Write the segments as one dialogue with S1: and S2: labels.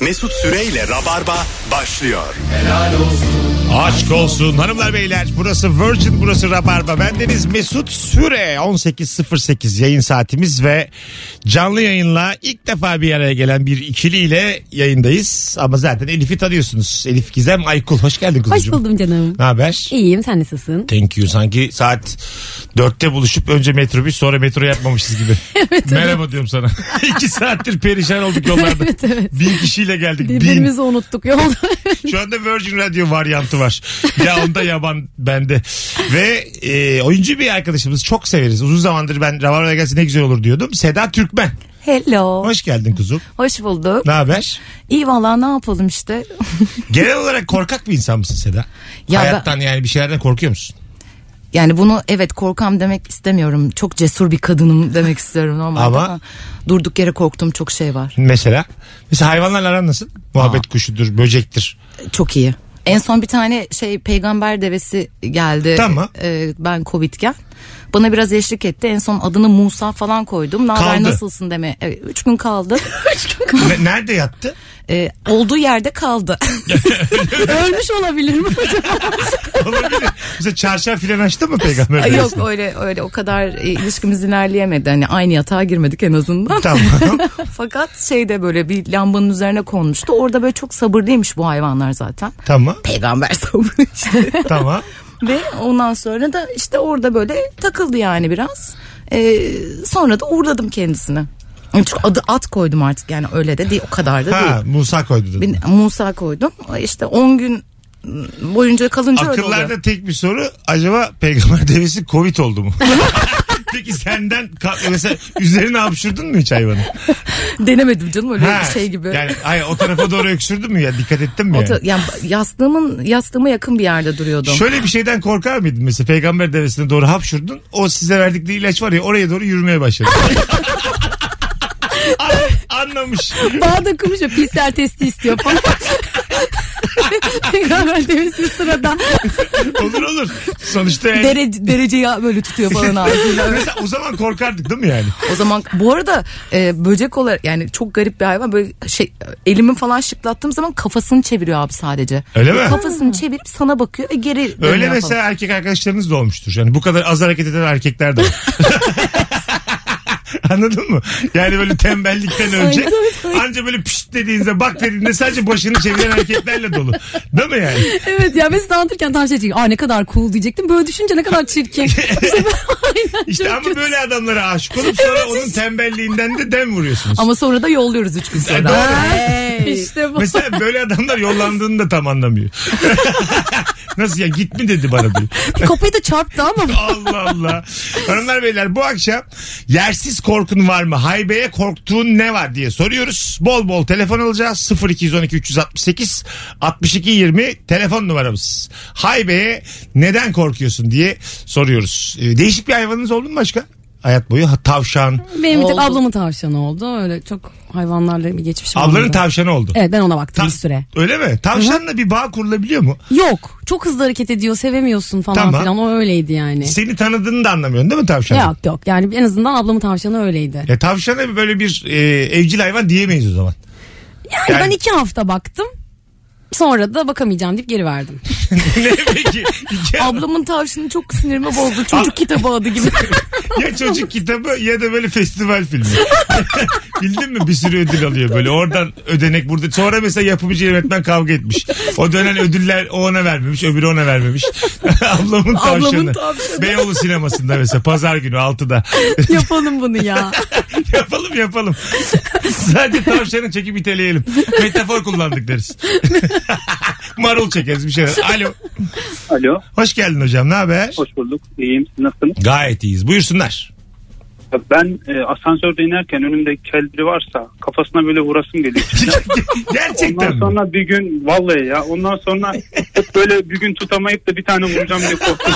S1: Mesut Süreyle Rabarba başlıyor.
S2: Aşk olsun hanımlar beyler burası Virgin burası Rabarba bendeniz Mesut Süre 18.08 yayın saatimiz ve canlı yayınla ilk defa bir araya gelen bir ikiliyle yayındayız ama zaten Elif'i tanıyorsunuz Elif Gizem Aykul hoş geldin
S3: Hoş
S2: kuzucuğum.
S3: buldum canım.
S2: Ne haber?
S3: İyiyim sen nasılsın?
S2: Thank you. Sanki saat dörtte buluşup önce metrobüs sonra metro yapmamışız gibi. Merhaba diyorum sana. İki saattir perişan olduk yollarda.
S3: Evet, evet.
S2: Bin kişiyle geldik. Bin.
S3: Birbirimizi unuttuk yolda.
S2: Şu anda Virgin Radio varyantı var. Ya onda yaban bende. Ve e, oyuncu bir arkadaşımız çok severiz. Uzun zamandır ben Ravara'ya gelse ne güzel olur diyordum. Seda Türkmen.
S4: Hello. Hoş,
S2: Hoş geldin kuzum.
S4: bulduk.
S2: Ne haber?
S4: İyi valla ne yapalım işte.
S2: Genel olarak korkak bir insan mısın Seda?
S4: Ya
S2: Hayattan yani bir şeylerden korkuyor musun?
S4: Yani bunu evet korkam demek istemiyorum. Çok cesur bir kadınım demek istiyorum normalde
S2: Ama-
S4: ama, durduk yere korktuğum çok şey var.
S2: Mesela. Mesela hayvanlarla aran nasıl? Muhabbet kuşudur, böcektir.
S4: Çok iyi. En son bir tane şey peygamber devesi geldi.
S2: Tamam.
S4: Ee, ben Covid'ken. Bana biraz eşlik etti. En son adını Musa falan koydum. Ne haber
S2: Kaldı.
S4: nasılsın deme. Evet, üç gün kaldı.
S2: Ne- nerede yattı?
S4: Ee, olduğu yerde kaldı.
S3: Ölmüş olabilir mi acaba?
S2: Olabilir. Mesela çarşaf filan açtı mı peygamber?
S4: Yok
S2: Devesi'ni?
S4: öyle öyle o kadar e, ilişkimiz ilerleyemedi. Hani aynı yatağa girmedik en azından.
S2: Tamam.
S4: Fakat şeyde böyle bir lambanın üzerine konmuştu. Orada böyle çok sabırlıymış bu hayvanlar zaten.
S2: Tamam.
S4: Peygamber sabrı işte.
S2: Tamam.
S4: Ve ondan sonra da işte orada böyle takıldı yani biraz. Ee, sonra da uğurladım kendisini. Çünkü adı at koydum artık yani öyle de değil o kadar da
S2: Ha,
S4: değil.
S2: Musa koydu. dedin.
S4: Bir Musa koydum. İşte 10 gün boyunca kalınca öyle oluyor.
S2: Akıllarda tek bir soru acaba peygamber devesi covid oldu mu? Peki senden ka- mesela üzerine hapşurdun mu hiç hayvanı?
S4: Denemedim canım öyle
S2: Ha,
S4: bir şey gibi.
S2: Yani hayır, o tarafa doğru öksürdün mü ya dikkat ettin mi
S4: O
S2: yani?
S4: ta- yani yastığımın yastığıma yakın bir yerde duruyordum.
S2: Şöyle bir şeyden korkar mıydın mesela peygamber devesine doğru hapşurdun o size verdikleri ilaç var ya oraya doğru yürümeye başladı. An- anlamış.
S3: Bağ da kumuş PCR testi istiyor falan. Peygamber devesi sırada
S2: Olur olur. Sonuçta yani-
S4: Derece, dereceyi böyle tutuyor falan ağzıyla.
S2: mesela o zaman korkardık değil mi yani?
S4: O zaman bu arada e, böcek olarak yani çok garip bir hayvan böyle şey elimi falan şıklattığım zaman kafasını çeviriyor abi sadece.
S2: Öyle mi?
S4: Kafasını çevirip sana bakıyor ve geri dönüyor
S2: Öyle
S4: falan.
S2: mesela erkek arkadaşlarınız da olmuştur. Yani bu kadar az hareket eden erkekler de var. Anladın mı? Yani böyle tembellikten önce anca böyle pişt dediğinizde bak dediğinde sadece başını çeviren erkeklerle dolu. Değil mi yani?
S3: evet ya mesela anlatırken tam şey diyecek. Aa ne kadar cool diyecektim. Böyle düşünce ne kadar çirkin. İşte ben- aynen
S2: İşte
S3: çok
S2: ama
S3: kötü.
S2: böyle adamlara aşık olup sonra onun tembelliğinden de dem vuruyorsunuz.
S4: Ama sonra da yolluyoruz üç gün
S2: E,
S4: sonra.
S2: doğru.
S3: İşte bu.
S2: Mesela böyle adamlar yollandığını da tam anlamıyor. Nasıl ya git mi dedi bana diyor.
S3: E, Kafayı da çarptı ama.
S2: Allah Allah. Hanımlar beyler bu akşam yersiz korkun var mı? Haybeye korktuğun ne var diye soruyoruz. Bol bol telefon alacağız. 0212 368 62 20 telefon numaramız. Haybeye neden korkuyorsun diye soruyoruz. Ee, Değişik bir hayvanınız oldu mu başka? Hayat boyu Ha, tavşan.
S3: Benim bir tek
S4: Oldu.
S3: ablamın tavşanı oldu. Öyle çok hayvanlarla bir geçmişim
S2: Ablanın
S3: oldu.
S2: tavşanı oldu.
S3: Evet ben ona baktım
S2: Ta-
S3: bir süre.
S2: Öyle mi? Tavşanla bir bağ kurulabiliyor mu?
S3: Yok. Çok hızlı hareket ediyor. Sevemiyorsun falan
S2: Tamam.
S3: filan. O öyleydi yani.
S2: Seni tanıdığını da anlamıyorsun değil mi tavşan?
S3: Yok yok. Yani en azından ablamın tavşanı öyleydi.
S2: Ya tavşana böyle bir e, evcil hayvan diyemeyiz o zaman.
S3: Yani,
S2: Yani-
S3: ben iki hafta baktım. Sonra da bakamayacağım deyip geri verdim.
S2: ne peki? İki
S4: Ablamın tavşanı çok sinirimi bozdu. Çocuk kitabı adı gibi.
S2: ya çocuk kitabı ya da böyle festival filmi. Bildin mi bir sürü ödül alıyor böyle oradan ödenek burada. Sonra mesela yapımcı yönetmen kavga etmiş. O dönen ödüller o ona vermemiş öbürü ona vermemiş. Ablamın tavşanı.
S4: tavşanı.
S2: Beyoğlu sinemasında mesela pazar günü 6'da.
S3: Yapalım bunu ya.
S2: yapalım yapalım. Sadece tavşanı çekip iteleyelim. Metafor kullandık deriz. Marul çekeriz bir şeyler. Alo.
S5: Alo,
S2: Hoş geldin hocam ne haber?
S5: hoş bulduk. İyiyim, siz nasılsınız?
S2: Gayet iyiyiz. Buyursunlar.
S5: Ben e, asansörde inerken önümde kel biri varsa kafasına böyle vurasım geliyor.
S2: Gerçekten
S5: Ondan
S2: mi?
S5: sonra bir gün, vallahi ya, ondan sonra hep böyle bir gün tutamayıp da bir tane vuracağım diye korktum.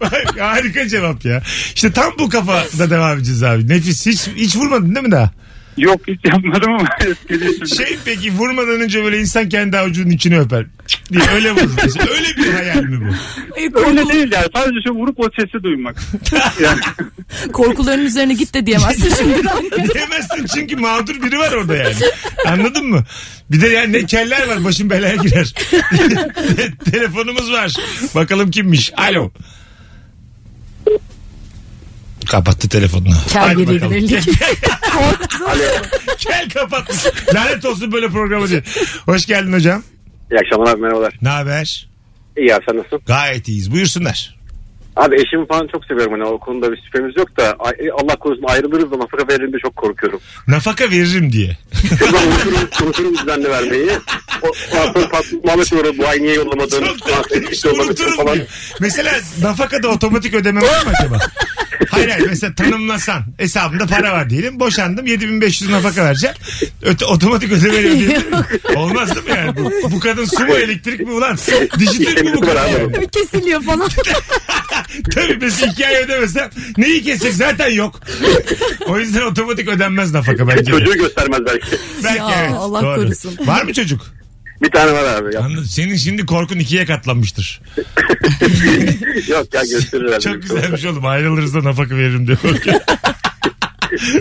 S2: Vay, Harika cevap ya. İşte tam bu kafada devam edeceğiz abi. Nefis. Hiç, hiç vurmadın değil mi daha?
S5: Yok hiç yapmadım ama etkiliyim.
S2: Şey peki vurmadan önce böyle insan kendi avucunun içini öper. Çık diye öyle vurur. mesela. öyle bir hayal mi bu?
S5: Öyle değil yani. Sadece şu vurup o sesi duymak. Yani,
S4: Korkuların üzerine git de diyemezsin şimdiden.
S2: Diyemezsin çünkü mağdur biri var orada yani. Anladın mı? Bir de yani ne keller var başım belaya girer. Te- Telefonumuz var. Bakalım kimmiş. Alo. Kapattı telefonunu.
S3: Kel
S2: Hadi
S3: geriydi
S2: bakalım.
S3: belli ki.
S2: Kel kapatmış. Lanet olsun böyle programı diye. Hoş geldin hocam.
S6: İyi akşamlar abi merhabalar.
S2: Ne haber?
S6: İyi abi sen nasılsın?
S2: Gayet iyiyiz. Buyursunlar.
S6: Abi eşimi falan çok seviyorum hani o konuda bir şüphemiz yok da ay- e, Allah korusun ayrılırız da nafaka verildiğinde çok korkuyorum.
S2: Nafaka veririm diye.
S6: Kızdan unuturum, unuturum düzenli vermeyi. O, o sonra pat- Muhammed uğradı bu ay niye yollamadın?
S2: Çok
S6: Ah,
S2: korktum
S6: hiçbir
S2: işte
S6: şey olmamıştır
S2: unuturum diyor. Mesela nafakada otomatik ödeme var mı acaba? Hayır hayır mesela tanımlasan hesabımda para var diyelim boşandım 7500 nafaka vereceğim Öte, otomatik ödeme ödeyelim olmaz değil mi yani bu, bu kadın su mu elektrik mi ulan dijital mi bu kadın yani?
S3: Bir kesiliyor falan.
S2: tabii mesela iki ay ödemesem neyi kesecek zaten yok o yüzden otomatik ödenmez nafaka bence de.
S6: Çocuğu göstermez belki.
S2: Belki
S3: Ya, Allah korusun.
S2: var mı çocuk
S6: Bir tane var abi. Yok,
S2: Anladım. senin şimdi korkun ikiye katlanmıştır
S6: yok ya gösterir herhalde.
S2: Çok güzelmiş oğlum ayrılırız da nafaka veririm diyor.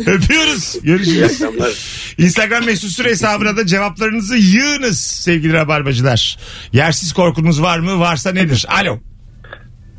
S2: Öpüyoruz.
S6: İyi
S2: Görüşürüz.
S6: akşamlar.
S2: Instagram mesut süre hesabına da cevaplarınızı yığınız sevgili rabarbacılar. Yersiz korkunuz var mı? Varsa nedir? Alo.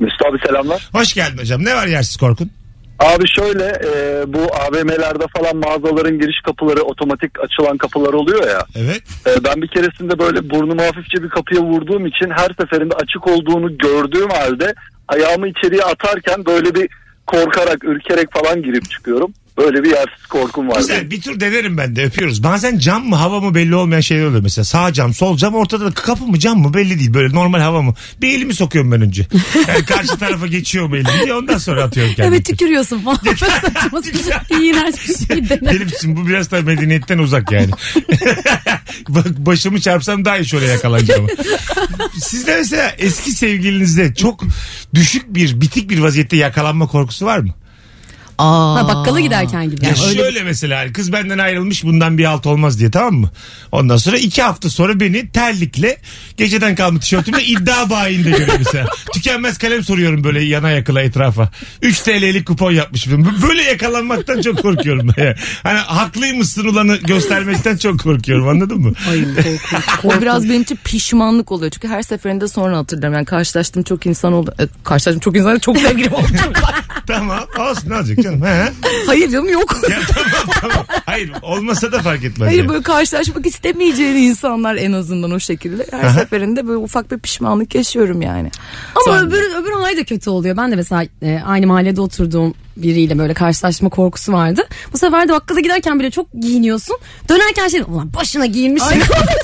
S7: Mesut abi selamlar.
S2: Hoş geldin hocam. Ne var yersiz korkun?
S7: Abi şöyle e, bu AVM'lerde falan mağazaların giriş kapıları otomatik açılan kapılar oluyor ya.
S2: Evet.
S7: E, ben bir keresinde böyle burnumu hafifçe bir kapıya vurduğum için her seferinde açık olduğunu gördüğüm halde ayağımı içeriye atarken böyle bir korkarak ürkerek falan girip çıkıyorum. Böyle bir yersiz korkum var.
S2: Güzel bir tur denerim ben de öpüyoruz. Bazen cam mı hava mı belli olmayan şeyler oluyor mesela. Sağ cam sol cam ortada da kapı mı cam mı belli değil. Böyle normal hava mı? Bir elimi sokuyorum ben önce. Yani karşı tarafa geçiyor mu elim diye ondan sonra atıyorum kendimi.
S3: evet tükürüyorsun falan. Böyle Saçma sapan iğrenç bir şey dene.
S2: Benim için bu biraz da medeniyetten uzak yani. Bak başımı çarpsam daha iyi şöyle yakalanacağım. Sizde mesela eski sevgilinizde çok düşük bir bitik bir vaziyette yakalanma korkusu var mı?
S4: Aa.
S3: Ha, bakkala giderken gibi.
S2: Ya
S3: Yani öyle
S2: şöyle mesela hani kız benden ayrılmış bundan bir alt olmaz diye tamam mı? Ondan sonra iki hafta sonra beni terlikle geceden kalma tişörtümle iddia bayinde görüyor mesela. Tükenmez kalem soruyorum böyle yana yakıla etrafa. 3 TL'lik kupon yapmışım. Böyle yakalanmaktan çok korkuyorum. ben ya. Hani haklıymışsın ulanı göstermekten çok korkuyorum anladın mı?
S4: O biraz benim için pişmanlık oluyor. Çünkü her seferinde sonra hatırlıyorum. Yani karşılaştığım çok insan oldu. E, karşılaştığım çok insan çok sevgilim oldu.
S2: tamam olsun ne olacak canım. He?
S4: Hayır canım yok.
S2: Ya tamam tamam. Hayır olmasa da fark etmez.
S4: Hayır
S2: yani.
S4: böyle karşılaşmak istemeyeceğin insanlar en azından o şekilde. Her seferinde böyle ufak bir pişmanlık yaşıyorum yani.
S3: Ama
S4: Sonra-
S3: öbür, öbür olay da kötü oluyor. Ben de mesela e, aynı mahallede oturduğum biriyle böyle karşılaşma korkusu vardı. Bu sefer de bakkala giderken bile çok giyiniyorsun. Dönerken şey ulan başına giyinmiş.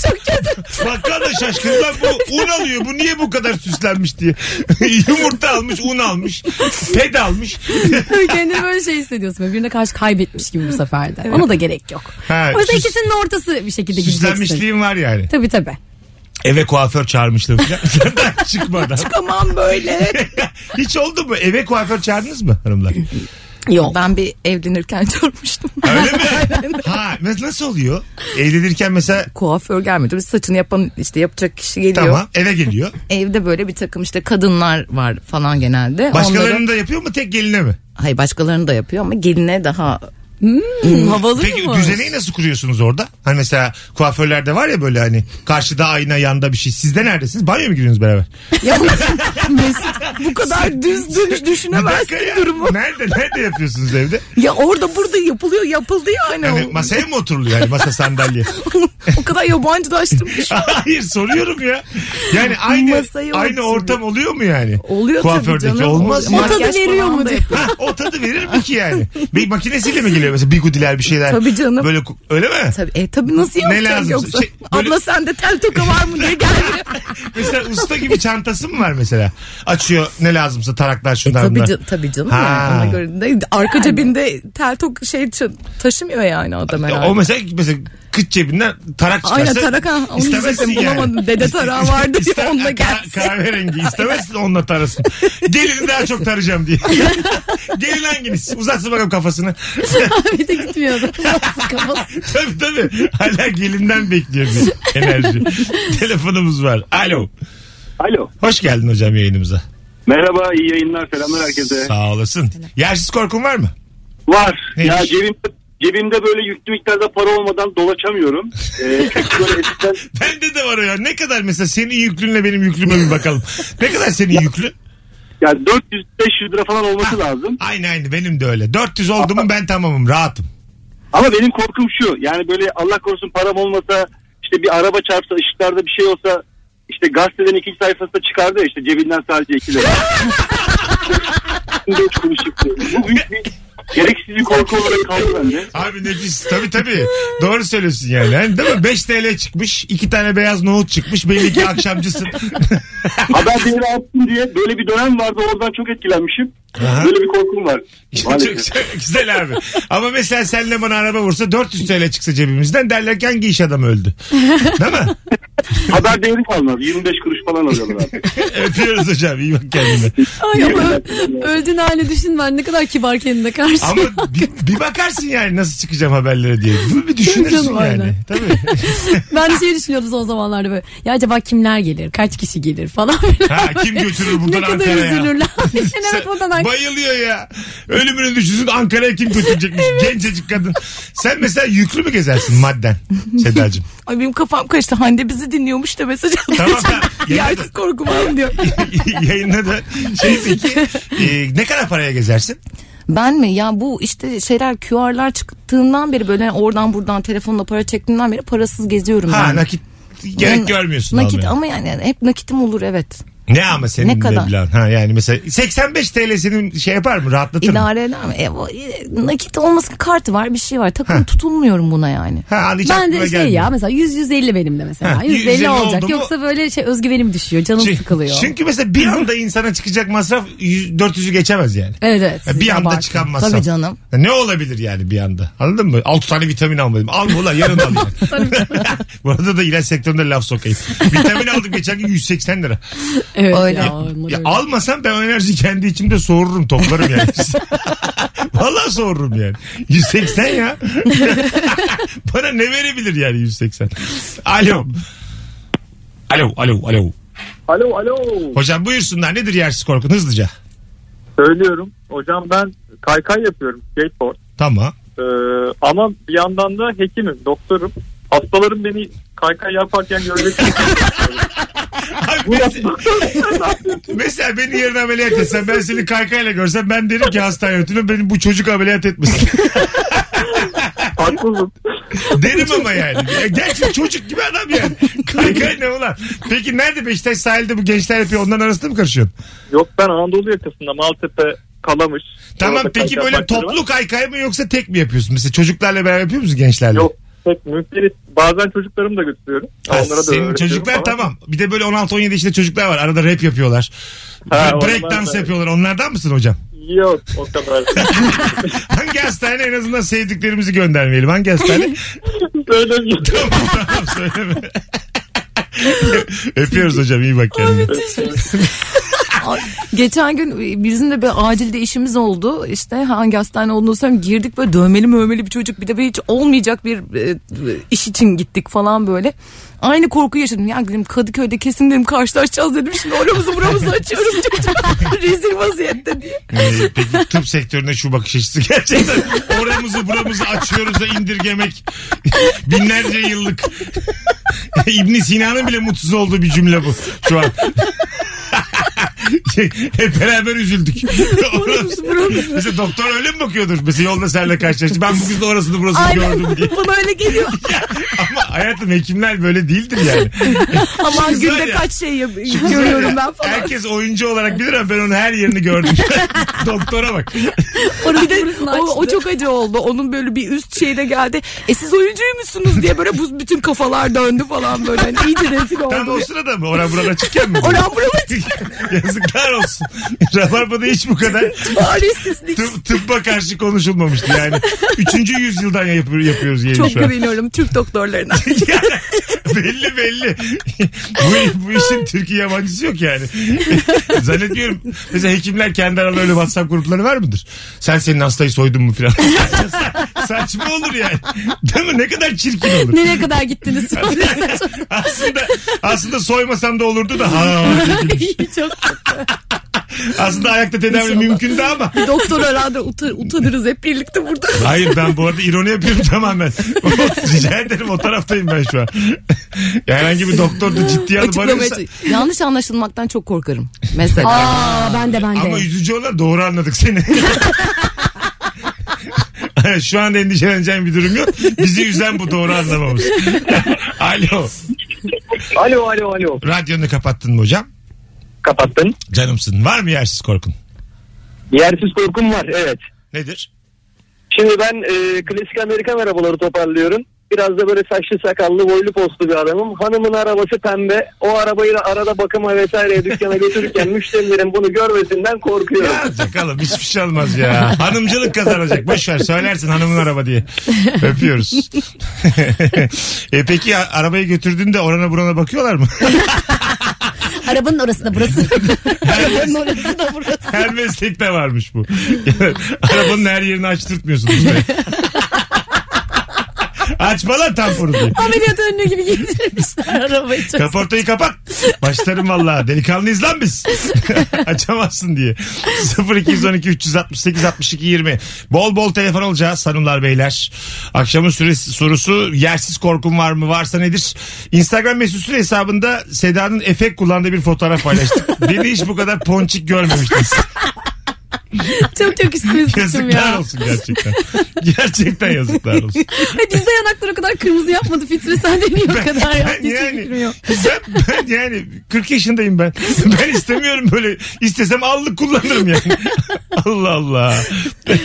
S3: çok kötü.
S2: Bakkal da şaşkın lan bu un alıyor. Bu niye bu kadar süslenmiş diye. Yumurta almış, un almış, ped almış.
S3: Kendini böyle şey hissediyorsun. Böyle Birine karşı kaybetmiş gibi bu sefer de. Ona da gerek yok.
S2: Ha,
S3: o yüzden
S2: süs-
S3: ikisinin ortası bir şekilde gideceksin.
S2: Süslenmişliğim var yani.
S3: Tabii tabii.
S2: Eve kuaför çağırmışlığım falan. Senden çıkmadan.
S4: Tamam böyle.
S2: Hiç oldu mu? Eve kuaför çağırdınız mı hanımlar?
S3: Yok.
S4: Ben bir evlenirken çarpmıştım.
S2: Öyle mi? ha, mes- nasıl oluyor? Evlenirken mesela
S4: Kuaför gelmedi. Bir saçını yapan işte yapacak kişi geliyor.
S2: tamam eve geliyor.
S4: Evde böyle bir takım işte kadınlar var falan genelde. Onları-
S2: Başkalarını da yapıyor mu tek geline mi?
S4: Hayır başkalarını da yapıyor ama geline daha
S3: Hmm,
S4: havalı
S2: Peki düzeneyi nasıl kuruyorsunuz orada? Hani mesela kuaförlerde var ya böyle hani karşıda ayna yanda bir şey. Siz de neredesiniz? Banyoya mı giriyorsunuz beraber?
S4: Mesut bu kadar düz düz düşünemezsin
S2: Dakika ya.
S4: durumu.
S2: Nerede nerede yapıyorsunuz evde?
S4: Ya orada burada yapılıyor yapıldı ya aynı
S2: Yani masaya mı oturuluyor yani masa sandalye?
S4: o kadar yabancılaştım.
S2: Hayır soruyorum ya. Yani aynı
S4: Masaya
S2: aynı
S4: oturuyor.
S2: ortam oluyor mu yani?
S4: Oluyor
S2: Kuafördeki
S4: tabii canım.
S2: olmaz mı?
S4: Oluyor.
S3: O tadı
S4: Makyaj
S3: veriyor
S4: falan
S3: mu
S4: da
S3: diye.
S4: yapıyor.
S2: Ha, o tadı verir mi ki yani? Bir makinesiyle mi geliyor mesela bigudiler bir şeyler?
S4: Tabii canım.
S2: Böyle ku- öyle mi?
S4: Tabii, e, tabii nasıl
S2: Ne
S4: yapacak
S2: lazım?
S4: yoksa?
S2: Şey, böyle-
S4: Abla sende tel toka var mı diye gelmiyor.
S2: Mesela usta gibi çantası mı var mesela? Açıyor ne lazımsa taraklar şundan
S4: E, tabii,
S2: bundan.
S4: ca- tabii canım
S2: Ha.
S4: yani ona göre de arka cebinde tel tok şey ça- taşımıyor yani adam herhalde.
S2: O mesela, mesela kıç cebinden tarak çıkarsa.
S4: Aynen taraka. Onu
S2: istemezsin
S4: diyecektim
S2: yani.
S4: bulamadım. Dede tarağı vardı
S2: İster-
S4: ya onunla
S2: Ka-
S4: gelsin.
S2: Kahverengi istemezsin onunla tarasın. Gelini daha çok tarayacağım diye. Gelin hanginiz? Uzatsın bakalım kafasını.
S3: Bir de gitmiyordu. Nasıl kafası?
S2: tabii tabii. Hala gelinden bekliyor bir enerji. Telefonumuz var. Alo.
S5: Alo.
S2: Hoş geldin hocam yayınımıza.
S5: Merhaba iyi yayınlar selamlar herkese.
S2: Sağ olasın. Yersiz korkun var mı?
S5: Var.
S2: Neymiş?
S5: Ya cebimde, cebimde böyle yüklü miktarda para olmadan dolaşamıyorum. Ee, çünkü böyle eskiden
S2: Bende de var o ya. Ne kadar mesela senin yüklünle benim yüklüme bir bakalım. Ne kadar senin yüklün?
S5: yani 400-500 lira falan olması lazım.
S2: Aynı aynı benim de öyle. 400 oldu mu ben tamamım rahatım.
S5: Ama benim korkum şu. Yani böyle Allah korusun param olmasa işte bir araba çarpsa ışıklarda bir şey olsa işte gazeteden ikinci sayfasında çıkardı ya işte cebinden sadece 2 lira. Şimdi üç kuruş çıktı. Bu büyük bir gereksiz bir korku olarak kaldı bende.
S2: Abi nefis tabii tabii. Doğru söylüyorsun yani. Hani değil mi? 5 TL çıkmış. 2 tane beyaz nohut çıkmış. Belli ki akşamcısın.
S5: Haber değeri artsın diye böyle bir dönem vardı oradan çok etkilenmişim.
S2: Aha.
S5: Böyle bir korkum var.
S2: çok,
S5: Maalesef.
S2: çok güzel abi. Ama mesela senle bana araba vursa 400 TL çıksa cebimizden derler ki hangi iş adamı öldü. Değil mi?
S5: Haber değeri kalmaz. 25 kuruş falan alıyorlar artık.
S2: Öpüyoruz hocam. iyi bak kendine.
S3: Ay ama ö- öldüğün hali düşünmen ne kadar kibar kendine karşı.
S2: Ama bir, bir bakarsın yani nasıl çıkacağım haberlere diye. Bir düşünürsün
S3: Canım, aynen.
S2: yani. Tabii.
S3: Ben de şey düşünüyordum o zamanlarda böyle. Ya acaba kimler gelir? Kaç kişi gelir falan.
S2: Ha, kim götürür buradan
S3: ne kadar
S2: Ankara'ya?
S3: üzülürler. Sen, evet
S2: Sen-
S3: buradan Ankara'ya.
S2: Bayılıyor ya. Ölümünü düşünsün Ankara'ya kim götürecekmiş gencecik kadın. Sen mesela yüklü mü gezersin madden Sedacığım?
S4: Ay benim kafam karıştı. Hande bizi dinliyormuş da mesaj atmış.
S2: Tamam tamam. Yayında,
S4: Yersiz korkum var diyor.
S2: yayında da şey peki e, ne kadar paraya gezersin?
S4: Ben mi? Ya bu işte şeyler QR'lar çıktığından beri böyle hani oradan buradan telefonla para çektiğimden beri parasız geziyorum
S2: Ha
S4: ben.
S2: nakit gerek
S4: Ben-
S2: görmüyorsun.
S4: Nakit
S2: almaya.
S4: ama yani hep nakitim olur evet.
S2: Ne ama senin
S4: Ne
S2: ne
S4: kadar?
S2: Ha yani mesela 85 TL senin şey yapar mı rahatlatır mı?
S4: İdare eder mi? E, bu- e, nakit olmasın kartı var bir şey var. Takım tutulmuyorum buna yani.
S2: Ha, an hiç
S3: Ben de
S2: aklıma
S3: şey
S2: gelmiyor.
S3: ya mesela 100-150 benim de mesela.
S2: Ha,
S3: 150,
S2: 150 oldu
S3: olacak.
S2: mu-
S3: Yoksa böyle şey özgüvenim düşüyor. Canım
S2: Çünkü-
S3: sıkılıyor.
S2: Çünkü mesela bir anda insana çıkacak masraf 100, 400'ü geçemez yani.
S3: evet evet.
S2: Ya
S3: siz
S2: bir anda
S3: abartın.
S2: çıkan masraf.
S4: Tabii canım.
S2: Ya Ne olabilir yani bir anda? Anladın mı? 6 tane vitamin almadım. Al ulan yarın al yani. Bu arada da ilaç sektöründe laf sokayım. Vitamin aldım geçen gün 180 lira.
S3: Evet,
S4: Öyle.
S3: Ya, onlar
S2: Ya
S3: öyle.
S2: almasam ben o enerjiyi kendi içimde soğururum toplarım yani. Vallahi soğururum yani. 180 ya. Bana ne verebilir yani 180? Alo. Alo, alo, alo.
S7: Alo alo.
S2: Hocam buyursunlar nedir yersiz korkun hızlıca.
S7: Söylüyorum. Hocam ben kaykay yapıyorum. Skateboard.
S2: Tamam.
S7: Ee, ama bir yandan da hekimim, doktorum. Hastalarım beni kaykay yaparken görecek.
S2: Abi mesela, mesela beni yarın ameliyat etsen ben seni kaykayla görsem ben derim ki hastane yönetimi beni bu çocuk ameliyat etmesin.
S7: Haklısın.
S2: derim ama yani. Ya Gerçi çocuk gibi adam yani. Kaykay ne ulan? Peki nerede Beşiktaş sahilde bu gençler yapıyor onların arasında mı karışıyorsun?
S7: Yok ben Anadolu yakasında Maltepe kalamış.
S2: Tamam
S7: Orada
S2: peki
S7: kaykay
S2: böyle
S7: parkları var.
S2: toplu kaykay mı yoksa tek mi yapıyorsun? Mesela çocuklarla beraber yapıyor musun gençlerle?
S7: Yok pek mümkün. Bazen çocuklarımı da götürüyorum.
S2: Ha,
S7: Onlara da
S2: senin
S7: öğretiyorum
S2: çocuklar
S7: falan.
S2: tamam. Bir de böyle 16-17 işte çocuklar var. Arada rap yapıyorlar.
S7: Ha, onlar
S2: Break dans
S7: da-
S2: yapıyorlar. Onlardan mısın hocam?
S7: Yok o kadar.
S2: Hangi hastane en azından sevdiklerimizi göndermeyelim. Hangi hastane?
S7: Söylemiyorum.
S2: tamam tamam söyleme. Öpüyoruz hocam iyi bak kendine.
S4: Ay, Geçen gün bizim de bir acilde işimiz oldu. İşte hangi hastane olduğunu söyleyeyim. Girdik böyle dövmeli mövmeli bir çocuk. Bir de böyle hiç olmayacak bir e, iş için gittik falan böyle. Aynı korkuyu yaşadım. Ya dedim Kadıköy'de kesin dedim karşılaşacağız dedim. Şimdi oramızı buramızı açıyoruz çocuk. Rezil vaziyette diye.
S2: Ee, peki tıp sektörüne şu bakış açısı gerçekten oramızı buramızı açıyoruz da indirgemek binlerce yıllık ibn Sina'nın bile mutsuz olduğu bir cümle bu şu an. Şey, Hep beraber üzüldük. Mesela doktor öyle mi bakıyordur? Mesela yolda seninle karşılaştı. Ben bugün de orasını burasını
S4: Aynen.
S2: gördüm diye.
S4: Bana öyle geliyor.
S2: Ama hayatım hekimler böyle değildir yani.
S4: Aman
S2: güzel
S4: günde
S2: ya.
S4: kaç şey yap-
S2: Şu
S4: görüyorum
S2: güzel.
S4: ben falan.
S2: Herkes oyuncu olarak bilir ama ben onun her yerini gördüm. Doktora bak.
S4: bir de
S3: burasını
S4: o,
S3: açtı.
S4: o çok acı oldu. Onun böyle bir üst şeyine geldi. E siz oyuncuyu musunuz diye böyle bu bütün kafalar döndü falan böyle. Hani iyice rezil
S2: Tam o
S4: oldu.
S2: sırada mı? Oran buran açıkken mi?
S4: Oran buram
S2: Yazıklar Helal olsun. Rabarba'da hiç bu kadar
S4: Çaresizlik.
S2: tıp, tıbba karşı konuşulmamıştı yani. Üçüncü yüzyıldan yapıyor, yapıyoruz yayını
S4: Çok
S2: şu an.
S4: güveniyorum Türk doktorlarına.
S2: belli belli. bu, bu işin Türkiye yabancısı yok yani. Zannediyorum. Mesela hekimler kendi aralarında öyle WhatsApp grupları var mıdır? Sen senin hastayı soydun mu filan. Sa- saçma olur yani. Değil mi? Ne kadar çirkin olur.
S3: Nereye kadar gittiniz?
S2: Aslında aslında soymasam da olurdu da. Ha, diye gülüyor.
S4: Çok
S2: aslında ayakta tedavi
S4: İnşallah.
S2: mümkündü ama.
S4: doktor herhalde uta- utanırız hep birlikte burada.
S2: Hayır ben bu arada ironi yapıyorum tamamen. Rica ederim o taraftayım ben şu an. Yani herhangi bir doktor da ciddiye alıp
S4: Açıklamaya
S2: arıyorsa.
S4: Yanlış anlaşılmaktan çok korkarım. Mesela.
S3: Aa ben de ben de.
S2: Ama üzücü olan doğru anladık seni. Şu anda endişeleneceğin bir durum yok. Bizi üzen bu doğru anlamamız. Alo.
S5: Alo alo alo.
S2: Radyonu kapattın mı hocam?
S5: Kapattın.
S2: Canımsın. Var mı yersiz korkun?
S5: Yersiz korkum var evet.
S2: Nedir?
S5: Şimdi ben e, klasik Amerikan arabaları toparlıyorum. Biraz da böyle saçlı sakallı boylu postlu bir adamım. Hanımın arabası pembe. O arabayı da arada bakıma vesaire dükkana götürürken müşterilerin bunu görmesinden korkuyorum.
S2: Ya bakalım hiçbir şey olmaz ya. Hanımcılık kazanacak. Boş ver söylersin hanımın araba diye. Öpüyoruz. e peki a- arabayı götürdüğünde orana burana bakıyorlar mı?
S3: Arabanın orası da burası. Arabanın orası da burası.
S2: Her meslekte varmış bu. Yani arabanın her yerini açtırtmıyorsunuz. be. Açma lan tamponu diye.
S3: Ameliyat önlüğü gibi giydirmişler arabayı çok.
S2: Kaportayı kapat. Başlarım valla. Delikanlıyız lan biz. Açamazsın diye. 0212 368 62 20. Bol bol telefon olacağız hanımlar beyler. Akşamın süresi, sorusu yersiz korkum var mı? Varsa nedir? Instagram mesut süre hesabında Seda'nın efekt kullandığı bir fotoğraf paylaştık. Beni hiç bu kadar ponçik görmemiştiniz.
S3: Çok çok istemiştim
S2: Yazıklar
S3: ya.
S2: olsun gerçekten. gerçekten yazıklar olsun.
S3: Ay, Bizde yanaklar o kadar kırmızı yapmadı Fitre sen de niye o kadar yaptın? Hiç
S2: yani-
S3: fikrim yok.
S2: Ben, ben yani 40 yaşındayım ben. Ben istemiyorum böyle. İstesem allık kullanırım yani. Allah Allah.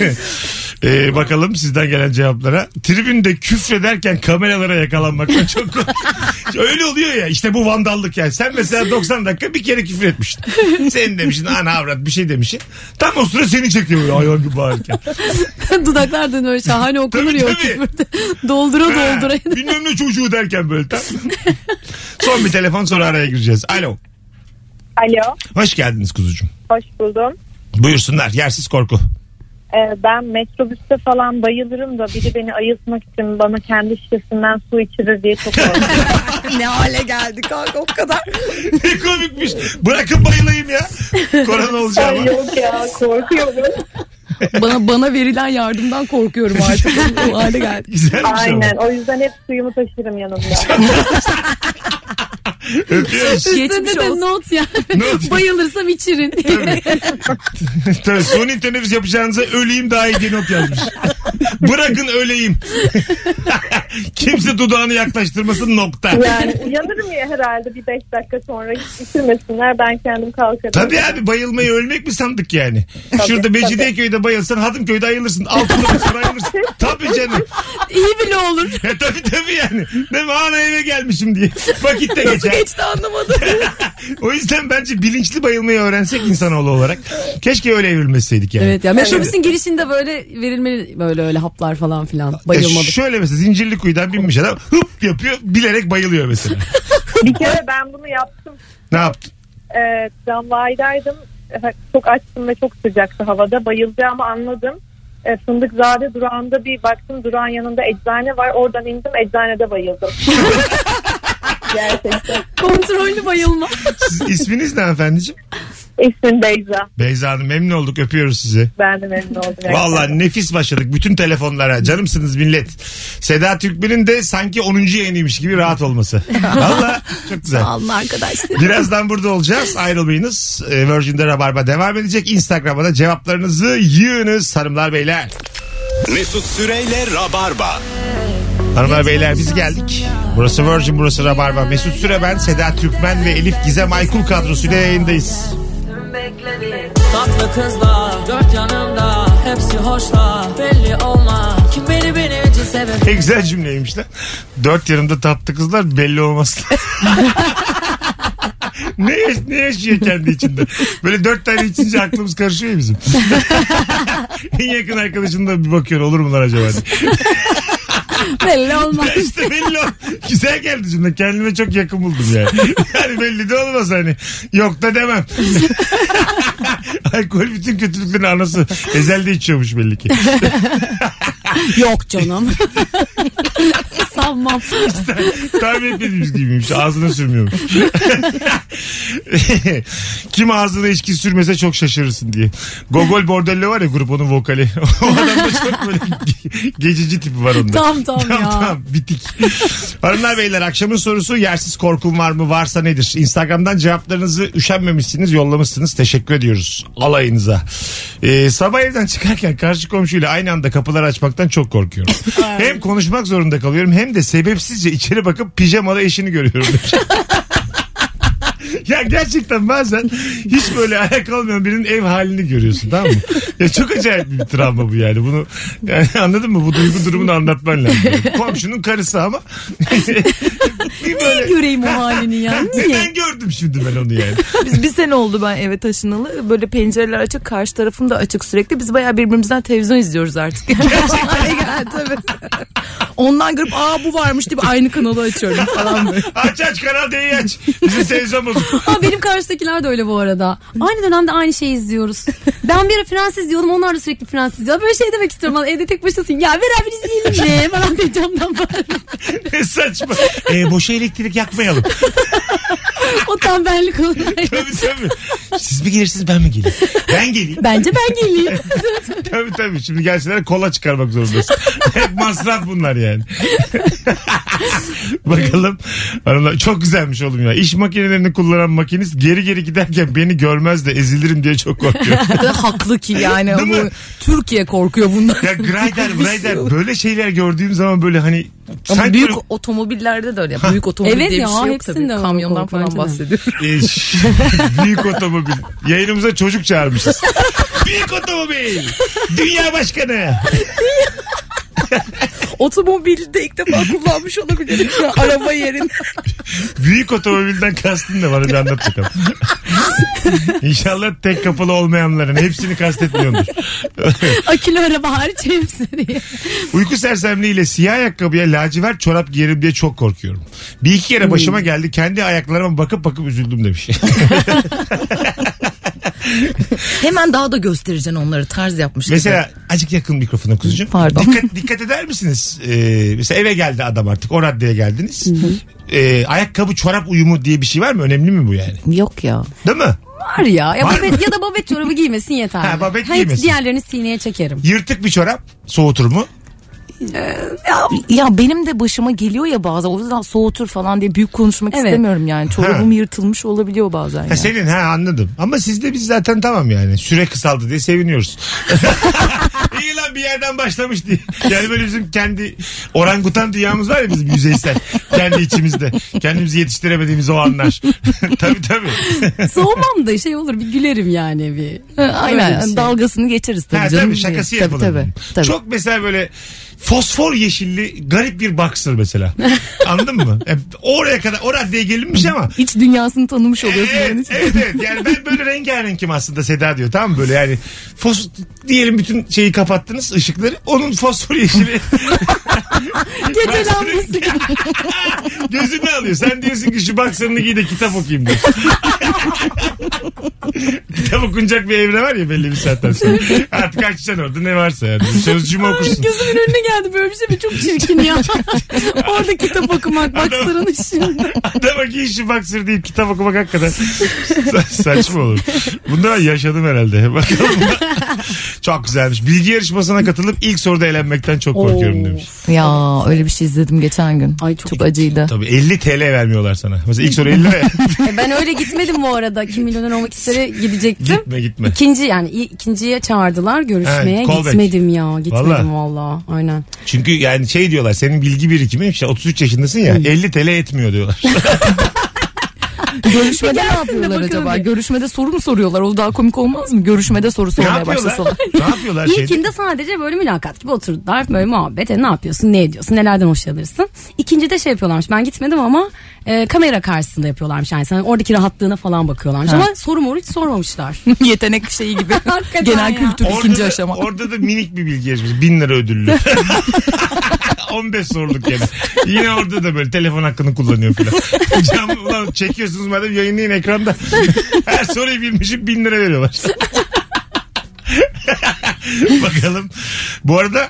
S2: Ee, bakalım sizden gelen cevaplara. Tribünde küfrederken kameralara yakalanmaktan çok korkuyorum. Öyle oluyor ya işte bu vandallık yani. Sen mesela 90 dakika bir kere küfür etmiştin. Senin demişsin ana avrat bir şey demişsin. Tam o sıra seni çekiyor böyle hayvan gibi bağırırken.
S3: Dudaklardan öyle şahane okunur
S2: Tabii,
S3: ya o
S2: tabii.
S3: küfürde. Doldura
S2: Ha,
S3: doldura.
S2: Bilmem ne çocuğu derken böyle tam. Son bir telefon sonra araya gireceğiz. Alo.
S8: Alo,
S2: Hoş geldiniz kuzucuğum.
S8: hoş buldum.
S2: Buyursunlar yersiz korku.
S8: Ee, ben metrobüste falan bayılırım da biri beni ayıltmak için bana kendi şişesinden su içirir diye çok korkuyorum.
S4: ne hale geldik kanka o kadar.
S2: Ne komikmiş. Bırakın bayılayım ya. Korona olacağım.
S8: Ay yok ya korkuyorum.
S4: Bana bana verilen yardımdan korkuyorum artık. o hale geldi.
S2: Güzelmiş
S8: Aynen o yüzden hep suyumu taşırım yanımda.
S2: ama. Öpüyoruz.
S4: Geçmiş
S3: Üstünde de
S4: olsun.
S3: not yani.
S2: Not.
S3: Bayılırsam içirin.
S2: Tabii, suni teneffüs yapacağınıza öleyim daha iyi diye not yazmış. Bırakın öleyim. Kimse dudağını yaklaştırmasın nokta.
S8: Yani uyanırım ya herhalde bir beş dakika sonra hiç içirmesinler ben kendim kalkarım.
S2: Tabii abi bayılmayı ölmek mi sandık yani? Şurada Mecidiyeköy'de bayılsan Hadımköy'de ayılırsın. Altınlı'da sonra ayılırsın. Tabii canım.
S4: İyi bile olur.
S2: E, tabii tabii yani. Değil mi? Ana eve gelmişim diye. Vakit de
S4: Nasıl
S2: geçer.
S4: geçti anlamadım.
S2: O yüzden bence bilinçli bayılmayı öğrensek insanoğlu olarak. Keşke öyle evrilmeseydik yani.
S3: evet ya metrobüsün girişinde böyle verilmeli böyle öyle haplar falan filan. Bayılmadık.
S2: E şöyle mesela zincirli kuyudan binmiş adam hıp yapıyor bilerek bayılıyor mesela.
S8: Bir kere ben bunu yaptım.
S2: ne yaptın?
S8: Ee, Damlaydaydım. Çok açtım ve çok sıcaktı havada. Bayılacağımı anladım. Ee, Fındıkzade durağında bir baktım durağın yanında eczane var. Oradan indim eczanede bayıldım. Gerçekten.
S3: Kontrollü bayılma.
S2: Siz, isminiz ne hanımefendiciğim?
S8: İsmim Beyza.
S2: Beyza Hanım memnun olduk öpüyoruz sizi.
S8: Ben de memnun oldum. gerçekten.
S2: Valla nefis başladık bütün telefonlara. Canımsınız millet. Seda Türkmen'in de sanki 10. yayınıymış gibi rahat olması. Valla çok güzel.
S4: Alın arkadaşlar.
S2: Birazdan burada olacağız. Ayrılmayınız. Ee, Virgin'de Rabarba devam edecek. Instagram'a da cevaplarınızı yığınız hanımlar beyler.
S1: Mesut Süreyle Rabarba.
S2: Hanımlar beyler biz geldik. Burası Virgin, burası Rabarba. Mesut Süre ben, Seda Türkmen ve Elif Gizem Aykul kadrosuyla yayındayız.
S9: Tatlı kızlar dört yanımda hepsi hoşla belli olmaz kim beni benim için sever
S2: Ne güzel cümleymiş lan. Dört yanımda tatlı kızlar belli olmaz. ne, yaş- ne yaşıyor kendi içinde? Böyle dört tane içince aklımız karışıyor ya bizim. en yakın arkadaşın da bir bakıyor olur mu lan acaba? diye.
S3: Belli olmaz.
S2: işte belli o. Güzel geldi şimdi. Kendime çok yakın buldum yani. yani belli de olmaz hani. Yok da demem. Alkol bütün kötülüklerin anası. Ezel de içiyormuş belli ki.
S3: Yok canım. Sanmam.
S2: Tahmin etmediğimiz gibiymiş. Ağzına sürmüyormuş. Kim ağzına içki sürmese çok şaşırırsın diye. Gogol Bordello var ya grup onun vokali. o adamda çok böyle ge- gecici tipi var onda.
S3: Tam tam ya.
S2: bitik. Hanımlar beyler akşamın sorusu yersiz korkun var mı varsa nedir? Instagram'dan cevaplarınızı üşenmemişsiniz yollamışsınız. Teşekkür ediyoruz alayınıza. Ee, sabah evden çıkarken karşı komşuyla aynı anda kapıları açmaktan çok korkuyorum. hem konuşmak zorunda kalıyorum hem de sebepsizce içeri bakıp pijamalı eşini görüyorum. Ya gerçekten bazen hiç böyle ayak olmayan birinin ev halini görüyorsun tamam mı? Ya çok acayip bir travma bu yani. Bunu yani anladın mı? Bu duygu durumunu anlatman lazım. Komşunun karısı ama. bir
S3: Niye göreyim o halini ya? Niye?
S2: Neden gördüm şimdi ben onu yani?
S4: Biz bir sene oldu ben eve taşınalı. Böyle pencereler açık, karşı tarafım da açık sürekli. Biz bayağı birbirimizden televizyon izliyoruz artık. Hale geldi tabii. Ondan görüp aa bu varmış deyip aynı kanalı açıyorum falan böyle.
S2: Aç aç kanal D'yi aç. Bizim televizyon bozuk.
S3: Aa, benim karşıdakiler de öyle bu arada. Aynı dönemde aynı şeyi izliyoruz. Ben bir ara Fransız izliyordum. Onlar da sürekli Fransız izliyor. Böyle şey demek istiyorum. Lan Evde tek başınasın. Ya beraber izleyelim mi? Falan diye Şey, camdan bağırıyorum.
S2: Ne saçma. E, boşa elektrik yakmayalım.
S3: O tembellik olur.
S2: Tabii tabii. Siz mi gelirsiniz ben mi geleyim? Ben geleyim.
S3: Bence ben geleyim.
S2: Tabii tabii. Şimdi gelseler kola çıkarmak zorundasın. Hep masraf bunlar yani. Bakalım. Hanımlar, çok güzelmiş oğlum ya. İş makinelerini kullanan makinist geri geri giderken beni görmez de ezilirim diye çok korkuyor.
S4: Haklı ki yani.
S2: Değil mi?
S4: Bu, Türkiye korkuyor bundan.
S2: ya grider grider böyle şeyler gördüğüm zaman böyle hani
S4: Ama
S2: sanki
S4: büyük
S2: böyle-
S4: otomobillerde de öyle. ya. Büyük otomobil
S3: Evet
S4: diye
S3: ya,
S4: bir şey yok
S3: hepsinde
S4: tabii.
S3: var bu
S4: Kamyondan
S3: korku,
S4: falan
S3: bence de.
S4: bahsediyorum.
S2: E, ş- büyük otomobil. Yayınımıza çocuk çağırmışız. büyük otomobil. Dünya başkanı.
S4: Otomobilde ilk defa kullanmış olabilirim. Araba yerine.
S2: Büyük otomobilden kastın ne bana bir anlat bakalım. İnşallah tek kapalı olmayanların hepsini kastetmiyordur.
S3: Akülü araba hariç hepsi diye.
S2: Uyku sersemliğiyle siyah ayakkabıya lacivert çorap giyerim diye çok korkuyorum. Bir iki kere başıma geldi kendi ayaklarıma bakıp bakıp üzüldüm demiş.
S4: Hemen daha da göstereceksin onları. Tarz yapmış gibi.
S2: mesela acık yakın mikrofona kuzucuğum.
S4: Pardon.
S2: Dikkat, dikkat eder misiniz? Ee, mesela eve geldi adam artık o raddeye geldiniz. Ee, ayakkabı çorap uyumu diye bir şey var mı? Önemli mi bu yani?
S4: Yok ya.
S2: Değil mi?
S3: Var ya. Ya,
S2: Var
S3: babet, ya da babet çorabı giymesin yeterli.
S2: Ha, babet
S3: Hepsi
S2: giymesin.
S3: Diğerlerini sineye çekerim.
S2: Yırtık bir çorap soğutur mu?
S4: Ya benim de başıma geliyor ya bazen. O yüzden soğutur falan diye büyük konuşmak
S3: Evet.
S4: istemiyorum yani. Çorabım
S2: Ha.
S4: yırtılmış olabiliyor bazen.
S2: Ha
S4: yani.
S2: senin ha anladım. Ama sizde biz zaten tamam yani. Süre kısaldı diye seviniyoruz. İyi lan bir yerden başlamış diye. Yani böyle bizim kendi orangutan dünyamız var ya bizim yüzeysel. kendi içimizde. Kendimizi yetiştiremediğimiz o anlar. tabii tabii.
S3: Soğumam da şey olur bir gülerim yani bir.
S4: Ha, Aynen.
S3: Öyle bir şey.
S4: Dalgasını geçeriz tabii
S2: Ha,
S4: canım.
S2: tabii şakası yapılır.
S4: Tabii, tabii.
S2: Çok mesela böyle fosfor yeşilli garip bir boxer mesela. Anladın mı? E, oraya kadar o raddeye gelinmiş ama
S4: İç dünyasını tanımış oluyorsun. onun
S2: Evet,
S4: için.
S2: evet, evet. Yani ben böyle rengarenkim aslında Seda diyor. Tamam mı? böyle yani. Fos, diyelim bütün şeyi kapattınız ışıkları. Onun fosfor yeşili.
S3: Gece lambası gibi.
S2: Gözünü alıyor. Sen diyorsun ki şu baksanını giy de kitap okuyayım diyor. kitap okunacak bir evre var ya belli bir saatten sonra. Artık açacaksın orada ne varsa yani. Sözcüğümü okursun.
S3: Gözümün önüne geldi böyle bir şey ve çok çirkin ya. Orada kitap okumak bak sıranın işini.
S2: Adama giy şu baksır deyip kitap okumak hakikaten sa- saçma olur. Bunu ben yaşadım herhalde. Bakalım. çok güzelmiş. Bilgi yarışmasına katılıp ilk soruda eğlenmekten çok korkuyorum demiş.
S4: Ya öyle bir şey izledim geçen gün.
S3: Ay, çok-
S4: çok acıydı.
S2: Tabii 50 TL vermiyorlar sana. Mesela ilk soru 50 lira.
S3: E ben öyle gitmedim bu arada. Kim milyoner olmak istere gidecektim.
S2: gitme gitme.
S3: İkinci yani i- ikinciye çağırdılar görüşmeye.
S2: Evet, callback.
S3: gitmedim ya. Gitmedim
S2: Vallahi.
S3: valla. Aynen.
S2: Çünkü yani şey diyorlar senin bilgi birikimi işte 33 yaşındasın ya 50 TL etmiyor diyorlar.
S4: Görüşmede ne
S3: Gelsin de
S4: yapıyorlar
S3: bakalım
S4: acaba?
S3: bir.
S4: Görüşmede soru mu soruyorlar? O daha komik olmaz mı? Görüşmede soru
S2: ne
S4: sormaya
S2: yapıyorlar?
S4: başlasalar.
S2: ne yapıyorlar şeyde?
S3: İlkinde sadece böyle mülakat gibi oturdular. Böyle muhabbet. E, ne yapıyorsun? Ne ediyorsun? Nelerden hoşlanırsın? İkincide şey yapıyorlarmış. Ben gitmedim ama e, kamera karşısında yapıyorlarmış yani. Sen oradaki rahatlığına falan bakıyorlarmış.
S4: Ha.
S3: Ama soru moru hiç sormamışlar.
S4: Yetenek şeyi gibi.
S3: Hakikaten
S4: Genel
S3: ya.
S4: kültür
S2: Orada
S4: ikinci
S2: da,
S4: aşama.
S2: Orada da minik bir bilgi yarışması. Bin lira ödüllü. 15 soruluk yani. Yine orada da böyle telefon hakkını kullanıyor filan. Hocam ulan çekiyorsunuz madem yayınlayın ekranda. Her soruyu bilmişim bin lira veriyorlar. Bakalım. Bu arada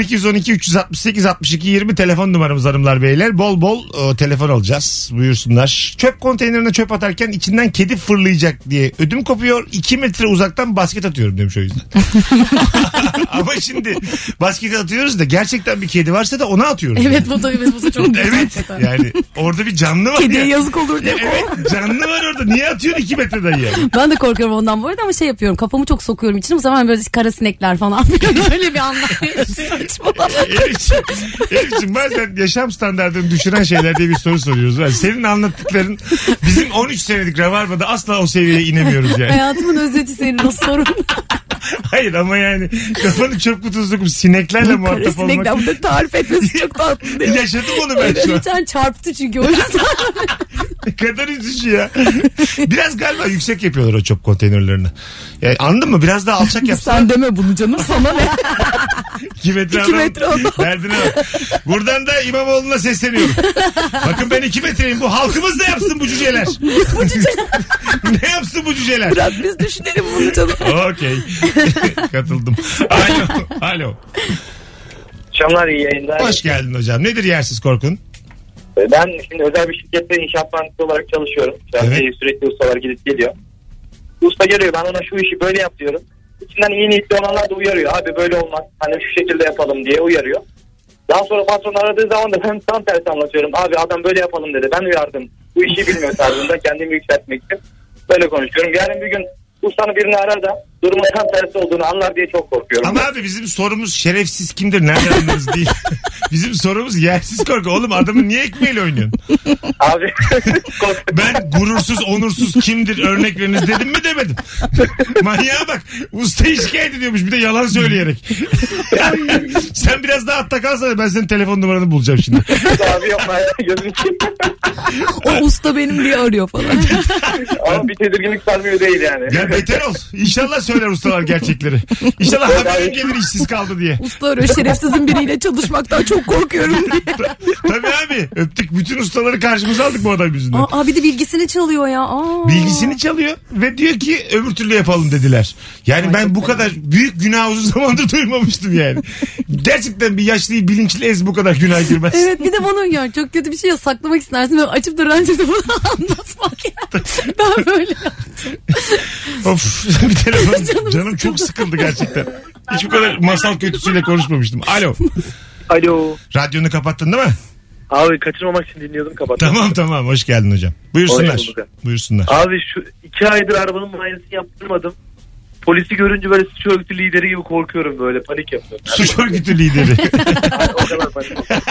S2: 0212 368 62 20 telefon numaramız hanımlar beyler. Bol bol e, telefon alacağız. Buyursunlar. Çöp konteynerine çöp atarken içinden kedi fırlayacak diye ödüm kopuyor. 2 metre uzaktan basket atıyorum demiş o yüzden. Ama şimdi basket atıyoruz da gerçekten bir kedi varsa da ona atıyoruz.
S3: evet bu da evet bu da çok güzel
S2: Evet.
S3: hakikaten.
S2: Yani orada bir canlı var.
S4: Kediye
S2: ya.
S4: yazık olur diye.
S2: Evet canlı var orada. Niye atıyorsun 2 metreden ya?
S3: Ben de korkuyorum ondan bu arada ama şey yapıyorum kafamı çok sokuyorum içine bu zaman böyle kara sinekler falan böyle, öyle bir anlam.
S2: Elif'ciğim, Elif'ciğim bazen yaşam standartını düşüren şeyler diye bir soru soruyoruz. Yani senin anlattıkların bizim 13 senelik Rabarba'da asla o seviyeye inemiyoruz yani.
S3: Hayatımın özeti senin o sorun.
S2: Hayır ama yani kafanı çöp kutusunda sineklerle
S4: Kara
S2: muhatap olmak.
S4: sinekten bunu tarif etmesi çok tatlı değil.
S2: Yaşadım onu ben şu an.
S3: Geçen çarptı çünkü o yüzden.
S2: Ne kadar üzücü ya. Biraz galiba yüksek yapıyorlar o çöp konteynerlerini. Yani anladın mı? Biraz daha alçak yapsalar.
S4: Sen deme bunu canım sana ne?
S2: 2 metre
S4: İki
S2: adam.
S4: metre adam.
S2: Derdine bak. Buradan da İmamoğlu'na sesleniyorum. Bakın ben 2 metreyim. Bu halkımız da yapsın bu cüceler. ne yapsın bu cüceler?
S4: Biraz biz düşünelim bunu canım.
S2: Okey. Katıldım. Alo. Alo.
S5: Akşamlar iyi yayınlar.
S2: Hoş geldin hocam. Nedir yersiz korkun?
S5: Ee, Ben şimdi özel bir şirkette inşaat mühendisi olarak çalışıyorum. Ben
S2: Evet.
S5: şey, sürekli ustalar gidip geliyor. Usta geliyor ben ona şu işi böyle yap diyorum. İçinden iyi niyetli olanlar da uyarıyor. Abi böyle olmaz. Hani şu şekilde yapalım diye uyarıyor. Daha sonra patron aradığı zaman da ben tam tersi anlatıyorum. Abi adam böyle yapalım dedi. Ben uyardım. Bu işi bilmiyor tarzında kendimi yükseltmek için. Böyle konuşuyorum. Yarın bir gün ustanı birini arar da durumun tam tersi olduğunu anlar diye çok korkuyorum.
S2: Ama abi bizim sorumuz şerefsiz kimdir? Nereden anlarız değil. bizim sorumuz yersiz korku. Oğlum adamın niye ekmeğiyle oynuyorsun?
S5: Abi korkuyorum.
S2: Ben gurursuz, onursuz kimdir örnek veriniz dedim mi demedim. Manyağa bak. Ustayı şikayet ediyormuş bir de yalan söyleyerek. Sen biraz daha atta kalsana ben senin telefon numaranı bulacağım şimdi.
S5: şey abi yapma ya. Gözünü seveyim.
S4: O usta benim diye arıyor falan.
S5: Ama bir tedirginlik sarmıyor değil yani.
S2: Ya beter ol. İnşallah söyler ustalar gerçekleri. İnşallah haberin gelir işsiz kaldı diye.
S4: Usta arıyor şerefsizin biriyle çalışmaktan çok korkuyorum diye.
S2: Tabii abi öptük. Bütün ustaları karşımıza aldık bu adam yüzünden.
S3: Aa, bir de bilgisini çalıyor ya. Aa.
S2: Bilgisini çalıyor ve diyor ki öbür türlü yapalım dediler. Yani ben bu kadar büyük günah uzun zamandır duymamıştım yani. Gerçekten bir yaşlıyı bilinçli ez bu kadar günah girmez.
S3: Evet bir de bana ya çok kötü bir şey ya saklamak istersin böyle açıp da rancıda bunu anlatmak ya. Ben böyle
S2: Of bir telefon. Canım,
S3: Canım
S2: çok sıkıldı gerçekten. Hiç bu kadar masal kötüsüyle konuşmamıştım. Alo.
S5: Alo.
S2: Radyonu kapattın değil mi?
S5: Abi kaçırmamak için dinliyordum kapattım.
S2: Tamam tamam hoş geldin hocam. Buyursunlar.
S5: Hoş bulduk.
S2: Buyursunlar.
S5: Abi şu iki aydır arabanın muayenesini yaptırmadım. Polisi görünce böyle suç örgütü lideri gibi korkuyorum böyle panik yapıyorum.
S2: Suç örgütü lideri.
S5: Yani o kadar panik yapıyorum.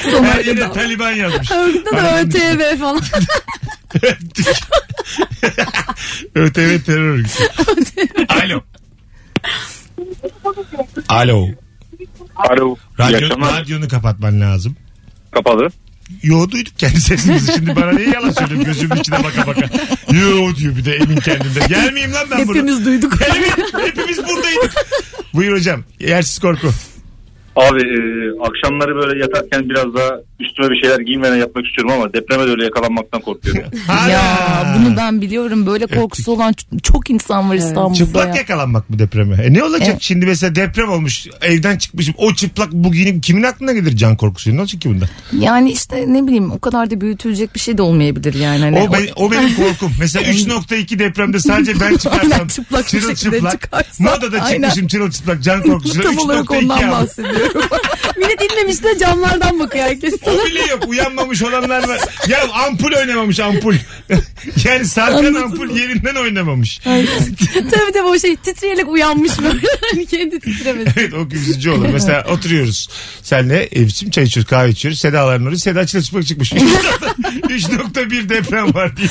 S2: Her yere Taliban yazmış.
S3: örgütte de ÖTV falan.
S2: Öptük. ÖTV terör örgütü. Alo. Alo.
S6: Alo.
S2: Radyo, radyonu kapatman lazım.
S6: Kapalı.
S2: Yo duyduk kendi sesimizi şimdi bana niye yalan söylüyorsun gözümün içine baka baka. Yo diyor bir de emin kendinde. Gelmeyeyim lan ben bunu.
S4: Hepimiz duyduk.
S2: Evet, hepimiz buradaydık. Buyur hocam. Yersiz korku.
S6: Abi e, akşamları böyle yatarken biraz daha üstüme bir şeyler giymeden yapmak istiyorum ama depreme de öyle yakalanmaktan korkuyorum. ya.
S2: Ana.
S4: Ya bunu ben biliyorum. Böyle korkusu olan ç- çok insan var İstanbul'da.
S2: Çıplak
S4: ya.
S2: yakalanmak mı depreme? E ne olacak
S4: Evet.
S2: şimdi mesela deprem olmuş evden çıkmışım o çıplak bu giyinim kimin aklına gelir can korkusu ne olacak ki bundan?
S4: Yani işte ne bileyim o kadar da büyütülecek bir şey de olmayabilir yani. Hani
S2: O, ben- o benim korkum. Mesela 3.2 depremde sadece ben çıkarsam
S4: Aynen, çıplak bir şekilde
S2: çırılçıplak.
S4: çıkarsam.
S2: Moda'da
S4: Aynen.
S2: çıkmışım çırılçıplak can korkusu.
S4: Tam olarak
S2: 3.2
S4: ondan
S2: abi.
S4: bahsediyorum.
S3: Millet inmemiş de camlardan bakıyor herkes.
S2: O bile yok. Uyanmamış olanlar var. Ya ampul oynamamış ampul. yani sarkan ampul yerinden oynamamış.
S3: tabii tabii o şey titreyerek uyanmış böyle. Hani kendi titremesin.
S2: Evet o üzücü olur. Mesela oturuyoruz. Senle evçim çay içiyoruz kahve içiyoruz. Seda alarmları Seda çırılçıplak çıkmış. 3.1 deprem var diye.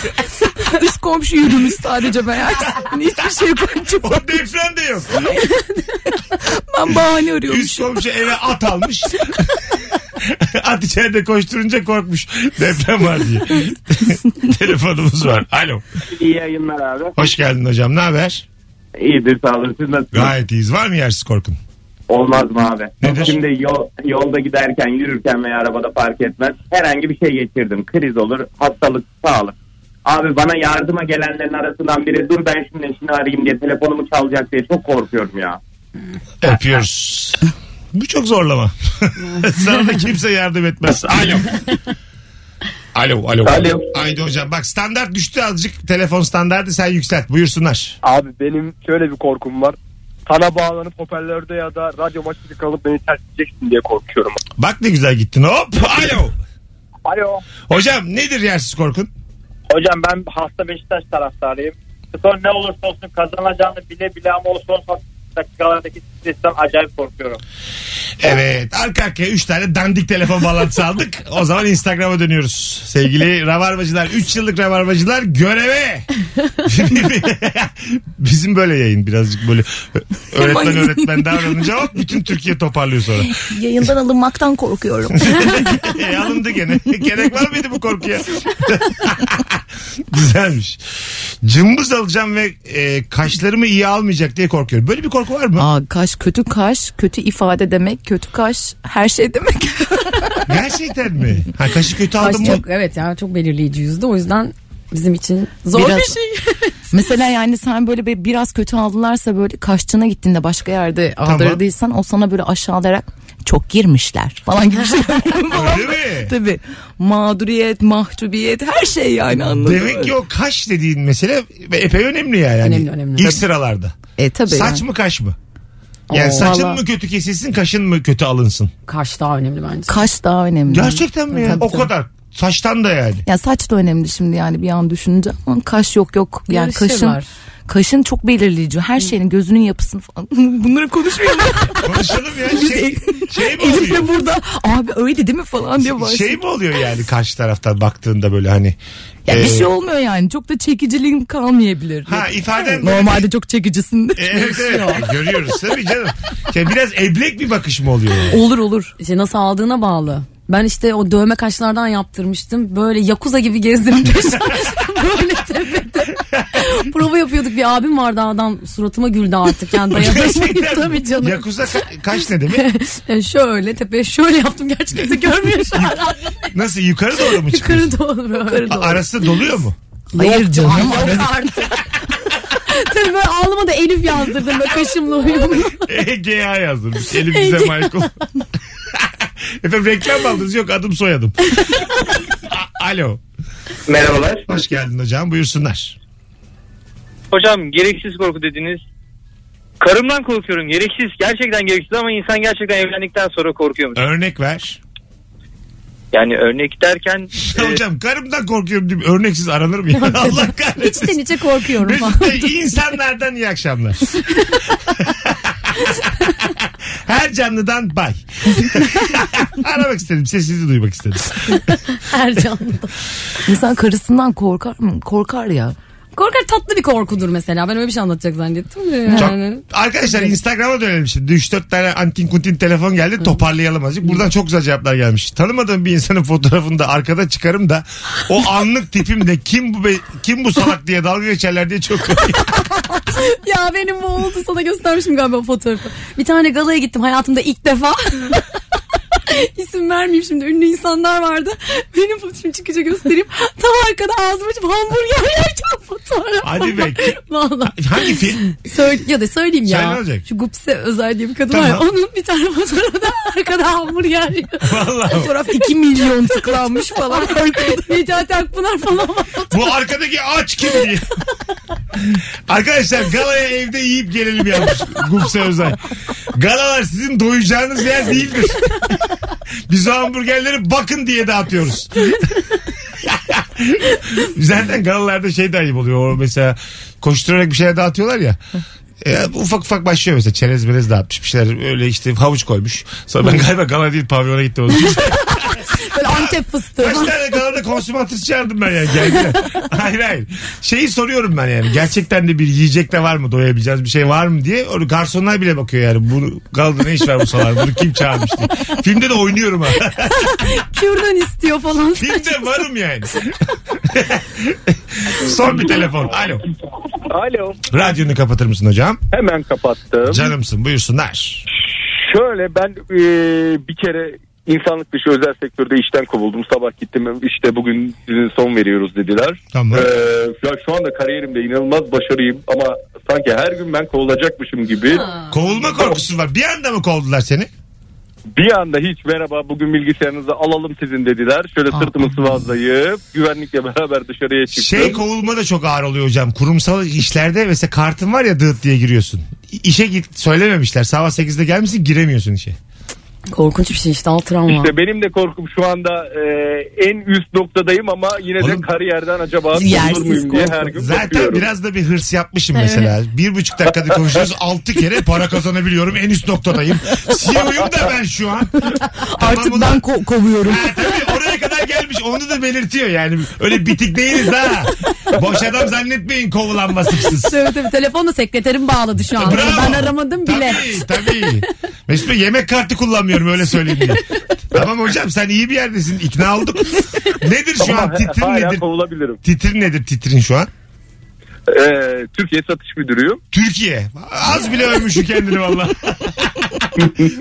S4: Üst komşu yürümüş sadece meğerse. Hani Hiçbir şey yapamayacak.
S2: O deprem de yok.
S4: Ben bahane arıyormuş.
S2: Üst komşu eve at almış. At içeride koşturunca korkmuş. Deprem var diye. Telefonumuz var. Alo.
S5: İyi yayınlar abi.
S2: Hoş geldin hocam. Ne haber?
S5: İyidir sağ olun. Siz nasılsınız?
S2: Gayet iyiyiz. Var mı yersiz korkun?
S5: Olmaz mı abi?
S2: Nedir?
S5: Şimdi yol, yolda giderken, yürürken veya arabada fark etmez. Herhangi bir şey geçirdim. Kriz olur, hastalık, sağlık. Abi bana yardıma gelenlerin arasından biri dur ben şimdi eşini arayayım diye telefonumu çalacak diye çok korkuyorum ya.
S2: Öpüyoruz. Bu çok zorlama. Sana da kimse yardım etmez. Alo. Alo, alo.
S7: Alo.
S2: Haydi hocam bak standart düştü azıcık. Telefon standardı sen yükselt. Buyursunlar.
S7: Abi benim şöyle bir korkum var. Sana bağlanıp hoparlörde ya da radyo maçında kalıp beni ters edeceksin diye korkuyorum.
S2: Bak ne güzel gittin. Hop. Alo.
S5: Alo.
S2: Hocam nedir yersiz korkun?
S5: Hocam ben hasta Beşiktaş taraftarıyım. Son ne olursa olsun kazanacağını bile bile ama o son dakikalardaki stresten acayip korkuyorum.
S2: Evet. Arka arkaya 3 tane dandik telefon bağlantısı aldık. O zaman Instagram'a dönüyoruz. Sevgili Rabarbacılar, 3 yıllık Rabarbacılar göreve. Bizim böyle yayın birazcık böyle öğretmen öğretmen davranınca hop bütün Türkiye toparlıyor sonra.
S4: Yayından alınmaktan korkuyorum.
S2: E, alındı gene. Gerek var mıydı bu korkuya? Güzelmiş. Cımbız alacağım ve e, kaşlarımı iyi almayacak diye korkuyorum. Böyle bir korku var mı?
S4: Aa, kaş kötü kaş, kötü ifade demek, kötü kaş her şey demek.
S2: Gerçekten mi? Ha, kaşı kötü
S3: Kaş
S2: aldım mı?
S3: çok, evet ya çok belirleyici yüzde o yüzden bizim için zor
S4: Biraz-
S3: bir şey.
S4: Mesela yani sen böyle bir, biraz kötü aldılarsa böyle kaşçına gittiğinde başka yerde
S2: Tamam.
S4: aldırdıysan o sana böyle aşağılayarak çok girmişler falan gibi şeyler. falan.
S2: Öyle mi?
S4: Tabii mağduriyet, mahcubiyet her şey yani anladın
S2: Demek
S4: mı?
S2: ki o kaş dediğin mesele epey önemli yani. Hani
S3: Önemli, önemli.
S2: İlk
S3: Tabii.
S2: sıralarda.
S4: E, tabii
S2: Saç
S4: yani.
S2: mı kaş mı? Yani
S3: Oo,
S2: saçın
S4: valla.
S2: mı kötü kesilsin kaşın mı kötü alınsın?
S3: Kaş daha önemli bence.
S4: Kaş daha önemli.
S2: Gerçekten mi ya?
S4: Tabii,
S2: O
S4: tabii.
S2: kadar. Saçtan da yani.
S4: Ya saç da önemli şimdi yani bir an düşününce ama kaş yok yok yani
S3: Yarışı
S4: kaşın
S3: var.
S4: kaşın çok belirleyici her şeyin gözünün yapısını falan bunları konuşmuyor mu?
S2: Konuşalım ya. Şey, şey mi
S4: Elif
S2: oluyor?
S4: de burada abi öyle değil mi falan diye başlıyor.
S2: Şey mi oluyor yani karşı taraftan baktığında böyle hani?
S4: ya
S2: e,
S4: bir şey olmuyor yani çok da çekiciliğin kalmayabilir.
S2: Ha ifaden böyle-
S4: Normalde çok çekicisin.
S2: Evet
S4: şey
S2: evet görüyoruz tabii canım. Ya biraz eblek bir bakış mı oluyor? yani?
S4: olur olur.
S3: İşte nasıl aldığına bağlı. Ben işte o dövme kaşlardan yaptırmıştım. Böyle yakuza gibi gezdim. Böyle tepede. Prova yapıyorduk. Bir abim vardı adam suratıma güldü artık. Yani dayanamayıp
S2: Gerçekten
S3: tabii canım.
S2: Yakuza ka- kaş ne demek?
S3: Yani şöyle tepeye şöyle yaptım. Gerçi kimse görmüyor şu an.
S2: Nasıl yukarı doğru mu çıkıyor?
S3: Yukarı doğru. Yukarı
S2: A- Arası doluyor mu?
S4: Hayır canım.
S3: Yok artık. Tabii böyle ağlama da Elif yazdırdım böyle kaşımla uyumlu.
S2: EGA E yazdırmış. Elimizde
S3: EGA.
S2: Michael. Efendim reklam mı aldınız yok adım soyadım. A- Alo.
S5: Merhabalar.
S2: Hoş geldin hocam buyursunlar.
S5: Hocam gereksiz korku dediniz. Karımdan korkuyorum. Gereksiz. Gerçekten gereksiz ama insan gerçekten evlendikten sonra korkuyormuş.
S2: Örnek ver.
S5: Yani örnek derken
S2: Ya hocam karımdan korkuyorum diyeyim. Örneksiz aranır mı? ya? Allah kahretsin.
S3: İçten içe korkuyorum falan.
S2: Mesut Bey insanlardan iyi akşamlar. Her canlıdan bay. Aramak istedim. Sesinizi duymak istedim.
S3: Her canlıda.
S4: İnsan karısından korkar mı? Korkar ya.
S3: Korkar tatlı bir korkudur mesela. Ben öyle bir şey anlatacak zannettim. de
S2: Çok-
S3: Yani.
S2: Arkadaşlar Instagram'a dönelim şimdi. 3-4 tane antin kuntin telefon geldi. Toparlayalım azıcık. Buradan çok güzel cevaplar gelmiş. Tanımadığım bir insanın fotoğrafını da arkada çıkarım da o anlık tipimle kim bu be- kim bu salak diye dalga geçerler diye çok korkuyorum.
S3: Ya benim bu oldu sana göstermişim galiba fotoğrafı. Bir tane galaya gittim hayatımda ilk defa. İsim vermeyeyim şimdi ünlü insanlar vardı. Benim fotoğrafımı çıkınca göstereyim. Tam arkada ağzımı açıp hamburger yerken fotoğraf.
S2: Hadi be.
S3: Valla.
S2: Hangi film?
S3: Söyle, ya da söyleyeyim
S2: Söyle ne
S3: ya.
S2: olacak?
S3: Şu Gupse Özel diye bir kadın var. ya,
S2: Tamam.
S3: Onun bir tane fotoğrafı da arkada hamburger yiyor.
S2: Vallahi.
S4: Fotoğraf 2 milyon tıklanmış falan.
S3: Necati Akpınar falan var.
S2: Bu arkadaki aç kim diye. Arkadaşlar galaya evde yiyip gelelim yapmış Gupse Özay. Galalar sizin doyacağınız yer değildir. Biz o hamburgerleri bakın diye dağıtıyoruz. Zaten galalarda şey de ayıp oluyor. O mesela koşturarak bir şeyler dağıtıyorlar ya. E, ufak ufak başlıyor mesela çerez merez dağıtmış bir şeyler öyle işte havuç koymuş. Sonra ben galiba gala değil pavyona gittim.
S4: Böyle
S3: Antep fıstığı.
S2: Kaç tane kadar da konsumatris çağırdım ben yani. Geldiler. hayır hayır. Şeyi soruyorum ben yani. Gerçekten de bir yiyecekte var mı? Doyabileceğiz bir şey var mı diye. Onu garsonlar bile bakıyor yani. Bunu kaldı ne iş var bu salar? Bunu kim çağırmış diye. Filmde de oynuyorum ha.
S3: Kürdan istiyor falan.
S2: Filmde varım yani. Son bir telefon. Alo.
S5: e, Alo.
S2: Radyonu kapatır mısın hocam?
S5: Hemen kapattım.
S2: Canımsın buyursunlar.
S5: Şöyle ben e, bir kere insanlık dışı özel sektörde işten kovuldum. Sabah gittim işte bugün sizin son veriyoruz dediler.
S2: Tamam.
S5: E, ya şu anda kariyerimde inanılmaz başarıyım ama sanki her gün ben kovulacakmışım gibi.
S2: Kovulma korkusu var. Bir anda mı kovdular seni?
S5: Bir anda hiç merhaba bugün bilgisayarınızı alalım sizin dediler. Şöyle sırtımı sıvazlayıp güvenlikle beraber dışarıya çıktım.
S2: Şey kovulma da çok ağır oluyor hocam. Kurumsal işlerde mesela kartın var ya dıt diye giriyorsun. İ- İşe git söylememişler. Sabah 8'de gelmişsin giremiyorsun işe.
S4: Korkunç bir şey işte al travma.
S5: İşte benim de korkum şu anda e, en üst noktadayım ama yine
S2: Oğlum,
S5: de kariyerden acaba
S4: yersiz
S5: olur muyum diye
S4: korku.
S5: her gün
S2: Zaten
S5: korkuyorum.
S2: biraz da bir hırs yapmışım mesela. Bir buçuk dakikada konuşuyoruz. Altı kere para kazanabiliyorum. En üst noktadayım. CEO'yum da ben şu an.
S4: Artık
S2: Tamam
S4: ben
S2: ulan.
S4: ko- kovuyorum.
S2: Ha, tabii oraya kadar gelmiş. Onu da belirtiyor yani. Öyle bitik değiliz ha. Boş adam zannetmeyin kovulanma sıfsız.
S3: Evet tabii telefonla sekreterim bağladı şu an.
S2: Bravo.
S3: Ben aramadım bile.
S2: Tabii tabii. Mesut Bey yemek kartı kullanmıyorum öyle söyleyeyim diye. tamam hocam sen iyi bir yerdesin. İkna olduk. Nedir şu an
S5: Ama
S2: titrin
S5: hala
S2: nedir?
S5: kovulabilirim.
S2: Titrin nedir titrin şu an?
S5: Ee, Türkiye satış müdürüyüm.
S2: Türkiye. Az bile övmüşsün kendini valla.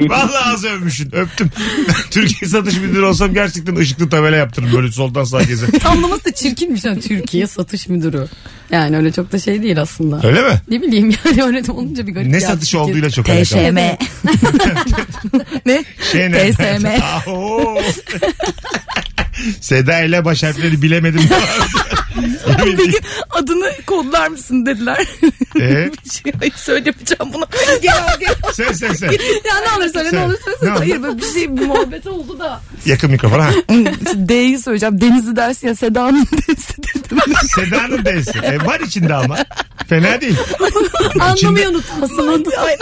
S2: valla az övmüşsün. Öptüm. Türkiye satış müdürü olsam gerçekten ışıklı tabela yaptırırım. Böyle soldan sağa gezer.
S3: Tamlaması da çirkinmiş. Yani Türkiye satış müdürü. Yani öyle çok da şey değil aslında.
S2: Öyle mi?
S3: Ne bileyim yani öyle de olunca bir garip
S2: Ne
S3: geldi.
S2: satışı olduğuyla çok alakalı.
S4: TŞM. ne?
S2: Şey ne?
S4: TSM.
S2: Aho. Seda ile baş harfleri bilemedim.
S4: Peki adını kodlar mısın dediler. şey,
S2: Ee?
S4: Hayır söylemeyeceğim bunu. Gel gel.
S2: sen sen sen.
S3: Ya ne olur söyle ne
S2: Sen-
S3: olur söyle.
S2: Ne oldu?
S4: Hayır böyle bir şey bir muhabbet oldu.
S2: Yakın mikrofon ha.
S4: D'yi söyleyeceğim. Denizli dersi ya Seda'nın dersi dedim.
S2: Seda'nın D'si. E, var içinde ama. Fena değil.
S3: Anlamayı unutmasın.
S4: Aynen.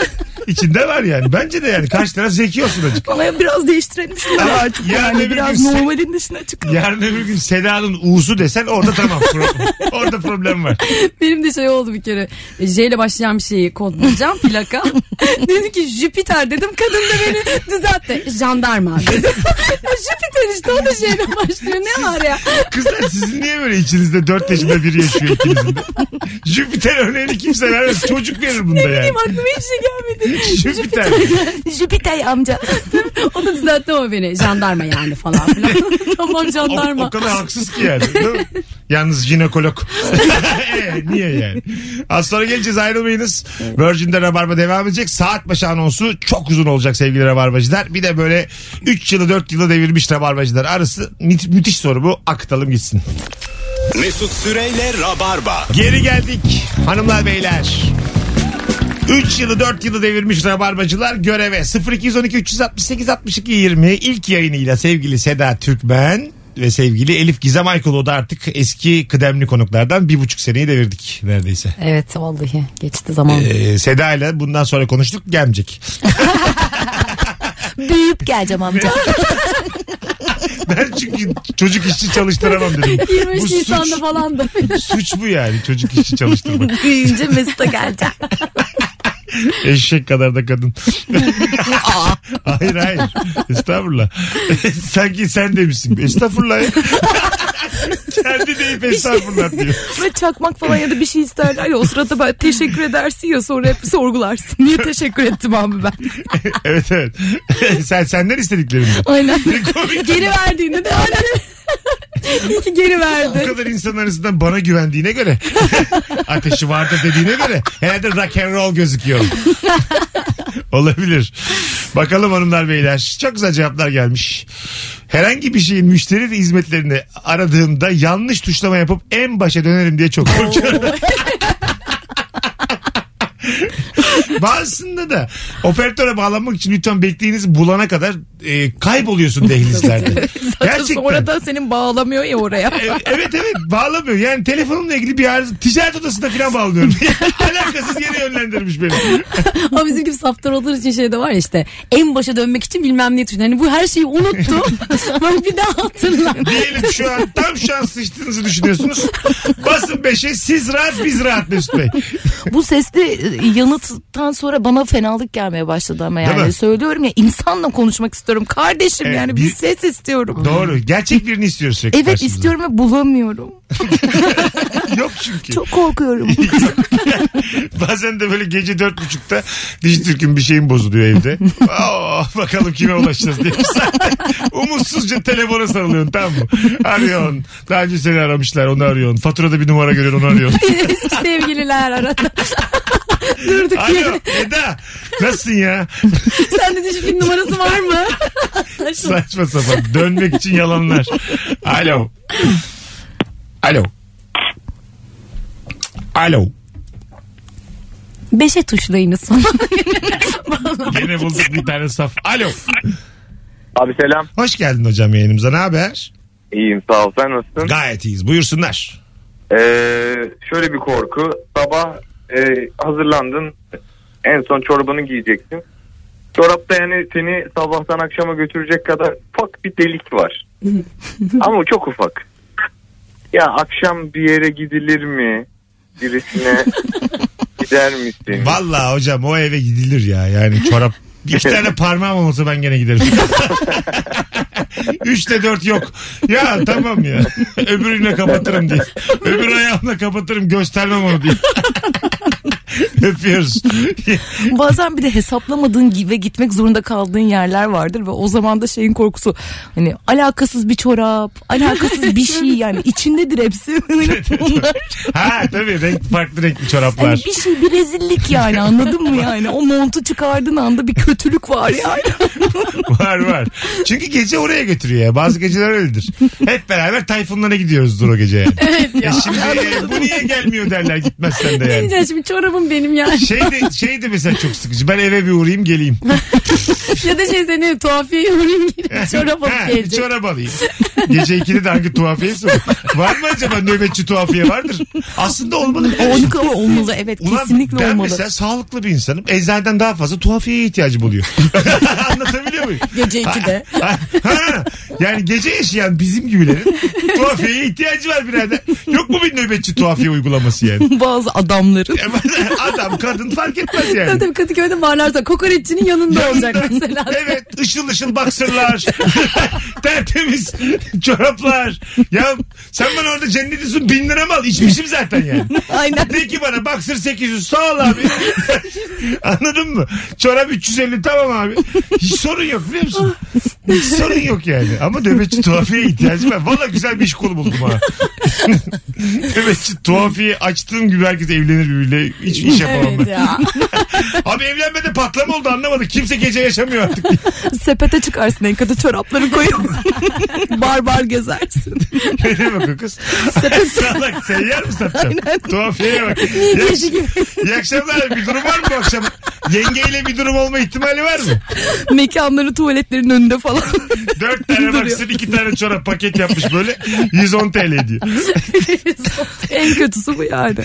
S2: İçinde var yani. Bence de yani. Kaç taraf zeki olsun acık.
S4: Bana biraz değiştirelim şunları
S2: Ama
S4: artık.
S2: yani
S4: Yani,
S2: bir
S4: biraz
S2: gün-
S4: normalin dışına çıkalım.
S2: Yarın öbür gün Seda'nın U'su desen orada tamam. Pro- orada problem var.
S3: Benim de şey oldu bir kere. J ile başlayan bir şeyi kodlayacağım plaka. dedi ki Jüpiter dedim. Kadın da beni düzeltti. Jandarma dedi. Jüpiter işte o da J ile başlıyor. Ne var ya?
S2: Kızlar sizin niye böyle içinizde dört yaşında biri yaşıyor ikinizin de? Jüpiter örneğini kimse vermez. Çocuk verir bunda yani.
S3: Benim aklıma hiç şey gelmedi.
S2: Jüpiter.
S4: Jüpiter amca.
S3: O da düzeltti ama beni. Jandarma yani falan filan. tamam
S2: O,
S3: jandarma.
S2: o kadar haksız ki yani. değil mi? Yalnız jinekolog. E, Niye yani? Az sonra geleceğiz ayrılmayınız. Virgin'de Rabarba devam edecek. Saat başı anonsu çok uzun olacak sevgili Rabarbacılar. Bir de böyle 3 yılı 4 yılı devirmiş Rabarbacılar arası mü- müthiş soru bu. Akıtalım gitsin.
S1: Mesut Süreyle Rabarba.
S2: Geri geldik hanımlar beyler. 3 yılı 4 yılı devirmiş rabarbacılar göreve 0212 368 62 20 ilk yayınıyla sevgili Seda Türkmen ve sevgili Elif Gizem Aykoğlu da artık eski kıdemli konuklardan bir buçuk seneyi devirdik neredeyse.
S3: Evet vallahi geçti zaman.
S2: Ee, Seda ile bundan sonra konuştuk gelmeyecek.
S4: Büyüyüp geleceğim amca.
S2: Ben çünkü çocuk işçi çalıştıramam dedim.
S3: 23
S2: Bu
S3: Nisan'da
S2: suç.
S3: falan da.
S2: Suç bu yani çocuk işçi çalıştırmak.
S4: Büyüyünce Mesut'a geleceğim.
S2: Eşek kadar da kadın. hayır hayır. Estağfurullah. Sanki sen demişsin. Estağfurullah. ya. Kendi deyip estağfurullah diyor.
S4: Böyle çakmak falan ya da bir şey isterler ya o sırada ben teşekkür edersin ya sonra hep sorgularsın. Niye teşekkür ettim abi ben?
S2: Evet evet. sen senden istediklerini.
S4: Aynen.
S2: Komik.
S3: Geri verdiğinde de İyi ki geri
S2: Bu
S3: verdi.
S2: kadar insan arasından bana güvendiğine göre ateşi vardı dediğine göre herhalde rock and roll gözüküyor. Olabilir. Bakalım hanımlar beyler. Çok güzel cevaplar gelmiş. Herhangi bir şeyin müşteri ve hizmetlerini aradığımda yanlış tuşlama yapıp en başa dönerim diye çok korkuyorum. Bazısında da operatöre bağlanmak için lütfen bekleyinizi bulana kadar e, kayboluyorsun dehlizlerde.
S4: Gerçekten. Sonra da senin bağlamıyor ya oraya.
S2: E- Evet evet bağlamıyor. Yani telefonumla ilgili bir arıza ticaret odasında falan bağlıyorum. Alakasız yere yönlendirmiş beni.
S3: Ama bizim gibi saftar olduğu için şey de var ya işte en başa dönmek için bilmem ne tuşu. Hani bu her şeyi unuttu. Bak bir daha hatırla.
S2: Diyelim şu an tam şu an sıçtığınızı düşünüyorsunuz. Basın 5'e siz rahat biz rahat Mesut Bey.
S4: Bu sesli e, yanıttan sonra bana fenalık gelmeye başladı ama
S2: Değil mi?
S4: yani. Söylüyorum ya insanla konuşmak istiyorum kardeşim
S2: Evet,
S4: yani
S2: bir-
S4: bir ses istiyorum.
S2: Doğru. Gerçek birini istiyoruz sürekli.
S4: Evet
S2: karşımıza.
S4: istiyorum ve bulamıyorum.
S2: Yok çünkü.
S4: Çok korkuyorum.
S2: Bazen de böyle gece dört buçukta Dijitürk'ün bir şeyin bozuluyor evde. Aa, bakalım kime ulaşacağız diye. bir saatte Umutsuzca telefona sarılıyorsun tamam mı? Arıyorsun. Daha önce seni aramışlar onu arıyorsun. Faturada bir numara görüyorsun onu arıyorsun.
S3: Eski sevgililer arada. Durduk
S2: Alo
S3: yere.
S2: Eda nasılsın ya?
S3: Sende düşkün numarası var mı? Saçma.
S2: Saçma sapan dönmek için yalanlar. Alo. Alo. Alo.
S3: Beşe tuşlayınız.
S2: Şey. Gene bulduk bir tane saf. Alo.
S5: Abi selam.
S2: Hoş geldin hocam yayınımıza. Ne haber?
S5: İyiyim sağ ol. Sen nasılsın?
S2: Gayet iyiyiz. Buyursunlar.
S5: Ee, şöyle bir korku. Sabah e, hazırlandın. En son çorabını giyeceksin. Çorapta yani seni sabahtan akşama götürecek kadar ufak bir delik var. Ama çok ufak. Ya akşam bir yere gidilir mi? Birisine gider misin?
S2: Vallahi hocam o eve gidilir ya. Yani çorap İki tane parmağım olsa ben gene giderim. Üçte dört yok. Ya tamam ya. Öbürüyle kapatırım diye. Öbür ayağımla kapatırım göstermem onu diye. Öpüyoruz.
S4: Bazen bir de hesaplamadığın gi- ve gitmek zorunda kaldığın yerler vardır ve o zaman da şeyin korkusu hani alakasız bir çorap, alakasız bir şey yani içindedir hepsi. Hani Bunlar
S2: ha tabii renk, farklı renkli
S4: hani
S2: çoraplar.
S4: bir şey bir rezillik yani anladın mı yani? O montu çıkardığın anda bir kötülük var yani.
S2: var var. Çünkü gece oraya götürüyor ya. Bazı geceler öyledir. Hep beraber Tayfunlara gidiyoruzdur o gece yani.
S3: evet ya.
S2: E şimdi bu niye gelmiyor derler gitmezsen de
S3: Ne
S2: yani.
S3: diyeceksin şimdi çorabım benim yani.
S2: Şey de, şey de mesela çok sıkıcı. Ben eve bir uğrayayım geleyim.
S3: ya da şey seni tuhafiyeye uğrayayım gidip çorap
S2: Ha,
S3: alıp
S2: bir
S3: gelecek.
S2: çorap alayım. Gece 2'de de hangi tuhafiyesi var? Var mı acaba nöbetçi tuhafiye vardır? Aslında olmalı.
S4: Onluk ama olmalı evet
S2: Ulan
S4: kesinlikle
S2: ben
S4: olmalı.
S2: mesela sağlıklı bir insanım. Eczaneden daha fazla tuhafiyeye ihtiyacım oluyor. Anlatabiliyor muyum?
S4: Gece 2'de.
S2: Ha, ha. yani gece yaşayan bizim gibilerin tuhafiyeye ihtiyacı var birader. Yok mu bir nöbetçi tuhafiye uygulaması yani?
S4: Bazı adamların.
S2: Ama Adam kadın fark etmez yani.
S3: Tabii tabii Kadıköy'de varlarsa kokoreççinin yanında olacak mesela.
S2: Evet ışıl ışıl baksırlar. Tertemiz çoraplar. Ya sen bana orada cennetisin bin lira mı al? İçmişim zaten yani.
S4: Aynen.
S2: De ki bana baksır 800 sağ ol abi. Anladın mı? Çorap 350 tamam abi. Hiç sorun yok biliyor musun? Hiç sorun yok yani. Ama nöbetçi tuhafiye ihtiyacım var. Valla güzel bir iş kolu buldum ha. nöbetçi tuhafiye açtığım gibi herkes evlenir birbiriyle. Hiç iş yapamam ben.
S3: Evet ya.
S2: Abi evlenmede patlama oldu anlamadık. Kimse gece yaşamıyor artık.
S4: Sepete çıkarsın en kötü çorapları koyup bar bar gezersin.
S2: Ne demek o kız? Salak seyyar mı satacağım? Tuhafiyeye bak.
S3: Niye
S2: İyi,
S3: gece gibi
S2: iyi akşamlar bir durum var mı bu akşam? Yengeyle bir durum olma ihtimali var mı?
S4: Mekanları tuvaletlerin önünde falan.
S2: Dört tane
S4: Duruyor.
S2: baksın iki tane çorap paket yapmış böyle 110 TL diyor.
S4: en kötüsü bu yani.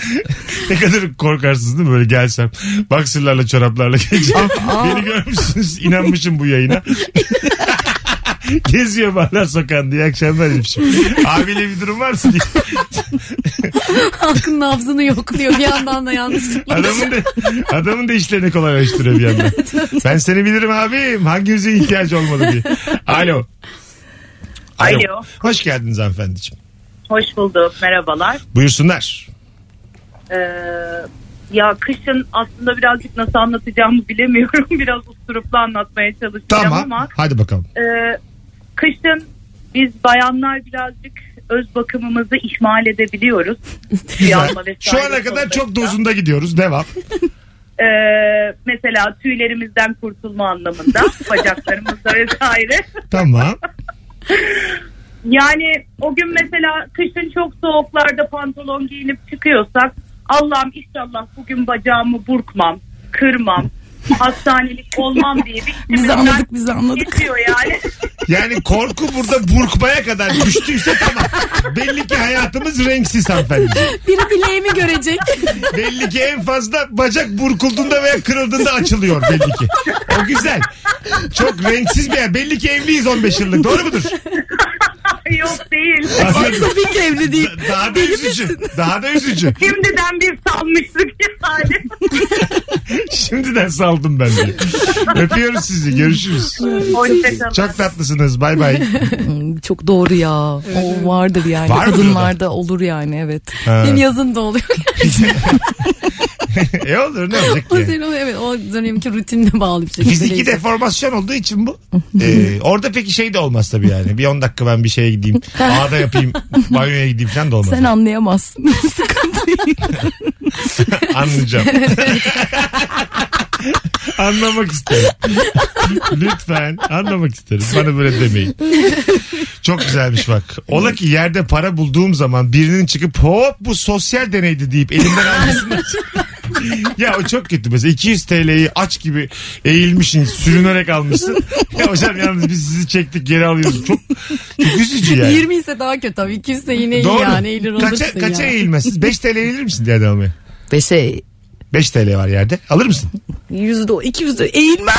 S2: Ne kadar korkarsınız değil mi böyle gelsem. Baksırlarla çoraplarla geleceğim. Beni görmüşsünüz inanmışım bu yayına. Geziyor barlar sokağında iyi akşamlar demişim. Abiyle bir durum var mı diye.
S3: halkın nabzını yokluyor bir yandan da yanlışlıkla.
S2: Adamın da, adamın da işlerini kolaylaştırıyor bir yandan. ben seni bilirim abim. Hangimizin ihtiyacı olmadı diye. Alo.
S10: Alo.
S2: Hoş geldiniz hanımefendiciğim.
S10: Hoş bulduk. Merhabalar.
S2: Buyursunlar.
S10: Ee, ya kışın aslında birazcık nasıl anlatacağımı bilemiyorum. Biraz usturuplu anlatmaya çalışacağım
S2: Tamam.
S10: ama
S2: Hadi bakalım.
S10: e, kışın biz bayanlar birazcık öz bakımımızı ihmal edebiliyoruz.
S2: Güzel.
S10: Uyanma vesaire
S2: Şu ana kadar çok
S10: konusunda.
S2: dozunda gidiyoruz. Devam.
S10: Ee, mesela tüylerimizden kurtulma anlamında bacaklarımızda vesaire.
S2: Tamam.
S10: Yani o gün mesela kışın çok soğuklarda pantolon giyinip çıkıyorsak Allah'ım inşallah bugün bacağımı burkmam. kırmam. Hastanelik olmam diye bir
S4: Biz anladık biz anladık.
S10: Geçiyor yani.
S2: Yani korku burada burkmaya kadar düştüyse tamam. Belli ki hayatımız renksiz hanımefendi.
S3: Biri bileğimi görecek.
S2: Belli ki en fazla bacak burkulduğunda veya kırıldığında açılıyor belli ki. O güzel. Çok renksiz bir yer. Belli ki evliyiz 15 yıllık. Doğru mudur?
S10: Yok değil.
S2: Aferin.
S4: Tabii ki evli değil.
S2: Daha da üzücü. Daha da üzücü.
S10: Şimdiden bir salmışlık yani.
S2: Şimdiden saldım ben de. Öpüyoruz sizi. Görüşürüz.
S10: Hoşçakalın.
S2: Çok tatlısınız. Bay bay.
S4: Hmm, Çok doğru ya. O vardır yani.
S2: Var mıdır
S4: Kadınlarda olur yani evet.
S3: Benim yazın da oluyor.
S2: E olur ne olacak
S3: o
S2: ki?
S3: senin oluyor. Evet, o dönemki rutinle bağlı bir şey. şekilde.
S2: Fiziki deformasyon olduğu için bu. Ee, orada peki şey de olmaz tabii yani. Bir 10 dakika ben bir şeye gideyim. Ağda yapayım. Banyoya gideyim falan da olmaz.
S4: Sen anlayamazsın. Sıkıntı değil.
S2: Anlayacağım. anlamak isterim. Lütfen anlamak isterim. Bana böyle demeyin. Çok güzelmiş bak. Ola ki yerde para bulduğum zaman birinin çıkıp hop bu sosyal deneydi deyip elimden almasınlar. ya o çok kötü mesela 200 TL'yi aç gibi eğilmişsin sürünerek almışsın. Ya hocam yalnız biz sizi çektik geri alıyoruz. Çok, çok üzücü yani.
S3: 20 ise daha kötü tabii. Kimse yine iyi
S2: Doğru.
S3: yani. Eğilir olursun
S2: kaça, kaça
S3: ya.
S2: eğilmezsin? 5 TL eğilir misin diye adam ya?
S4: Ve şey
S2: 5 TL var yerde. Alır mısın?
S4: yüzde o iki yüzde eğilmem.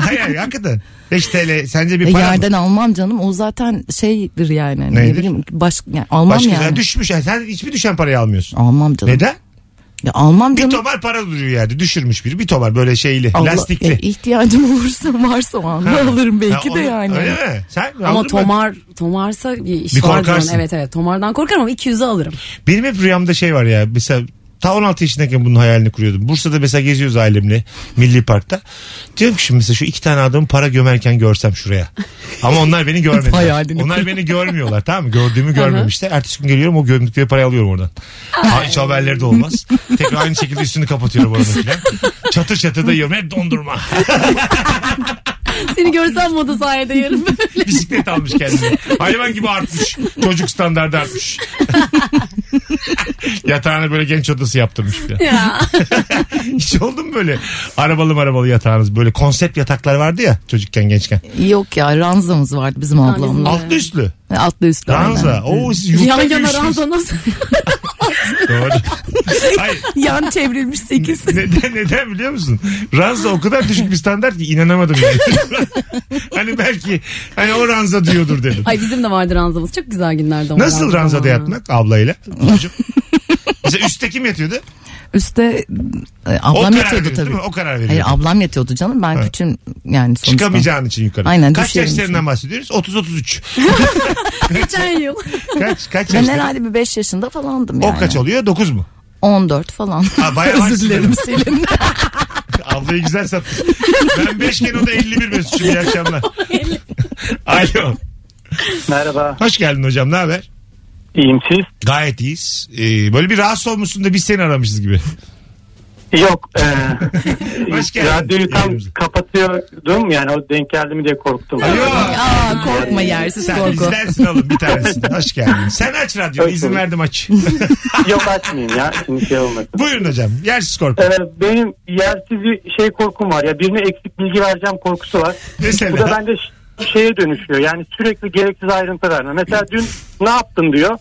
S2: Hayır hayır hakikaten. 5 TL sence
S4: E,
S2: bir para mı?
S4: yerden almam canım. O zaten şeydir yani. Hani
S2: Neydir?
S4: Ne bileyim baş, yani almam
S2: Başka
S4: yani.
S2: düşmüş. Yani sen hiçbir düşen parayı almıyorsun.
S4: Almam canım.
S2: Neden?
S4: Ya almam
S2: Bir
S4: canım.
S2: tomar para duruyor yerde. Düşürmüş biri. Bir tomar böyle şeyli.
S4: Allah-
S2: lastikli.
S4: E, ihtiyacım olursa varsa o anda
S2: Ha.
S4: alırım
S2: Ha,
S4: belki
S2: onu-
S4: de yani.
S2: Öyle mi? Sen
S3: Ama
S2: aldın mı?
S3: tomar, tomarsa bir iş
S2: Bir
S3: var.
S2: korkarsın.
S3: diyorum. Evet evet tomardan korkarım ama 200'ü alırım.
S2: Benim hep rüyamda şey var ya. Mesela ta 16 yaşındayken bunun hayalini kuruyordum. Bursa'da mesela geziyoruz ailemle Milli Park'ta. Diyorum ki şimdi mesela şu iki tane adamı para gömerken görsem şuraya. Ama onlar beni görmediler.
S4: Hayalini
S2: onlar beni görmüyorlar tamam mı? Gördüğümü görmemişler. Ertesi gün geliyorum o gömdükleri parayı alıyorum oradan. Ha, Hiç haberleri de olmaz. Tekrar aynı şekilde üstünü kapatıyorum oranın filan. Çatır çatır da yiyorum. Hep dondurma.
S3: Seni görsem moda sahilde yarın böyle.
S2: Bisiklet almış kendine. Hayvan gibi artmış. Çocuk standardı artmış. Yatağını böyle genç odası yaptırmış filan.
S3: ya.
S2: Hiç oldu mu böyle arabalı marabalı yatağınız böyle konsept yataklar vardı ya çocukken gençken.
S4: Yok ya ranzamız vardı bizim ablamla.
S2: Altlı üstlü.
S4: Altlı üstlü. aynen.
S2: Ranza. Oo siz
S3: Yan
S2: yurtta
S3: yana
S2: büyümüşsünüz.
S3: ranza nasıl?
S2: Doğru. Hayır.
S4: Yan çevrilmiş sekiz.
S2: Neden, neden biliyor musun? Ranza o kadar düşük bir standart ki inanamadım. Yani. hani belki hani o ranza diyordur dedim.
S3: Ay bizim de vardı ranzamız. Çok güzel günlerdi onlar.
S2: Nasıl ranzada yatmak ablayla? Çocuk. Mesela üstte kim yatıyordu?
S4: Üste
S2: O
S4: e, ablam
S2: karar
S4: yatıyordu
S2: veriyordu
S4: tabii.
S2: değil mi? O karar veriyordu.
S4: Hayır ablam yatıyordu canım. Ben küçüğüm yani sonuçta.
S2: Çıkamayacağın için yukarı.
S4: Aynen,
S2: Kaç
S4: düşerim
S2: yaşlarından
S4: şimdi.
S2: bahsediyoruz? 30-33.
S3: Geçen yıl.
S2: Kaç, kaç
S4: Ben
S2: yaşlarından?
S4: herhalde bir 5 yaşında falandım
S2: O
S4: yani.
S2: kaç oluyor? 9 mu?
S4: 14 falan.
S2: Ha, bayağı
S4: Özür
S2: haklısın.
S4: dilerim Selin.
S2: Ablayı güzel sattın. ben beşken o da 51 Mesut'cum iyi akşamlar. Alo.
S11: Merhaba.
S2: Hoş geldin hocam ne haber?
S11: İyiyim siz?
S2: Gayet iyiyiz. Ee, böyle bir rahatsız olmuşsun da biz seni aramışız gibi.
S11: Yok. E,
S2: Hoş geldin.
S11: radyoyu tam
S2: Yayınımıza.
S11: kapatıyordum yani o denk geldi mi diye korktum.
S2: Alo.
S4: Aa korkma yersiz
S2: Sen
S4: korku.
S2: izlersin oğlum bir tanesini. Hoş geldin. Sen aç radyonu
S11: Hoş
S2: izin
S11: bulduk.
S2: verdim aç.
S11: Yok açmayayım ya. Şimdi şey olmasın.
S2: Buyurun hocam. Yersiz korku.
S11: Ee, benim yersiz bir şey korkum var. Ya birine eksik bilgi vereceğim korkusu var. Bu da
S2: Mesela.
S11: bende ş- şeye dönüşüyor. Yani sürekli gereksiz ayrıntı verme. Mesela dün ne yaptın diyor.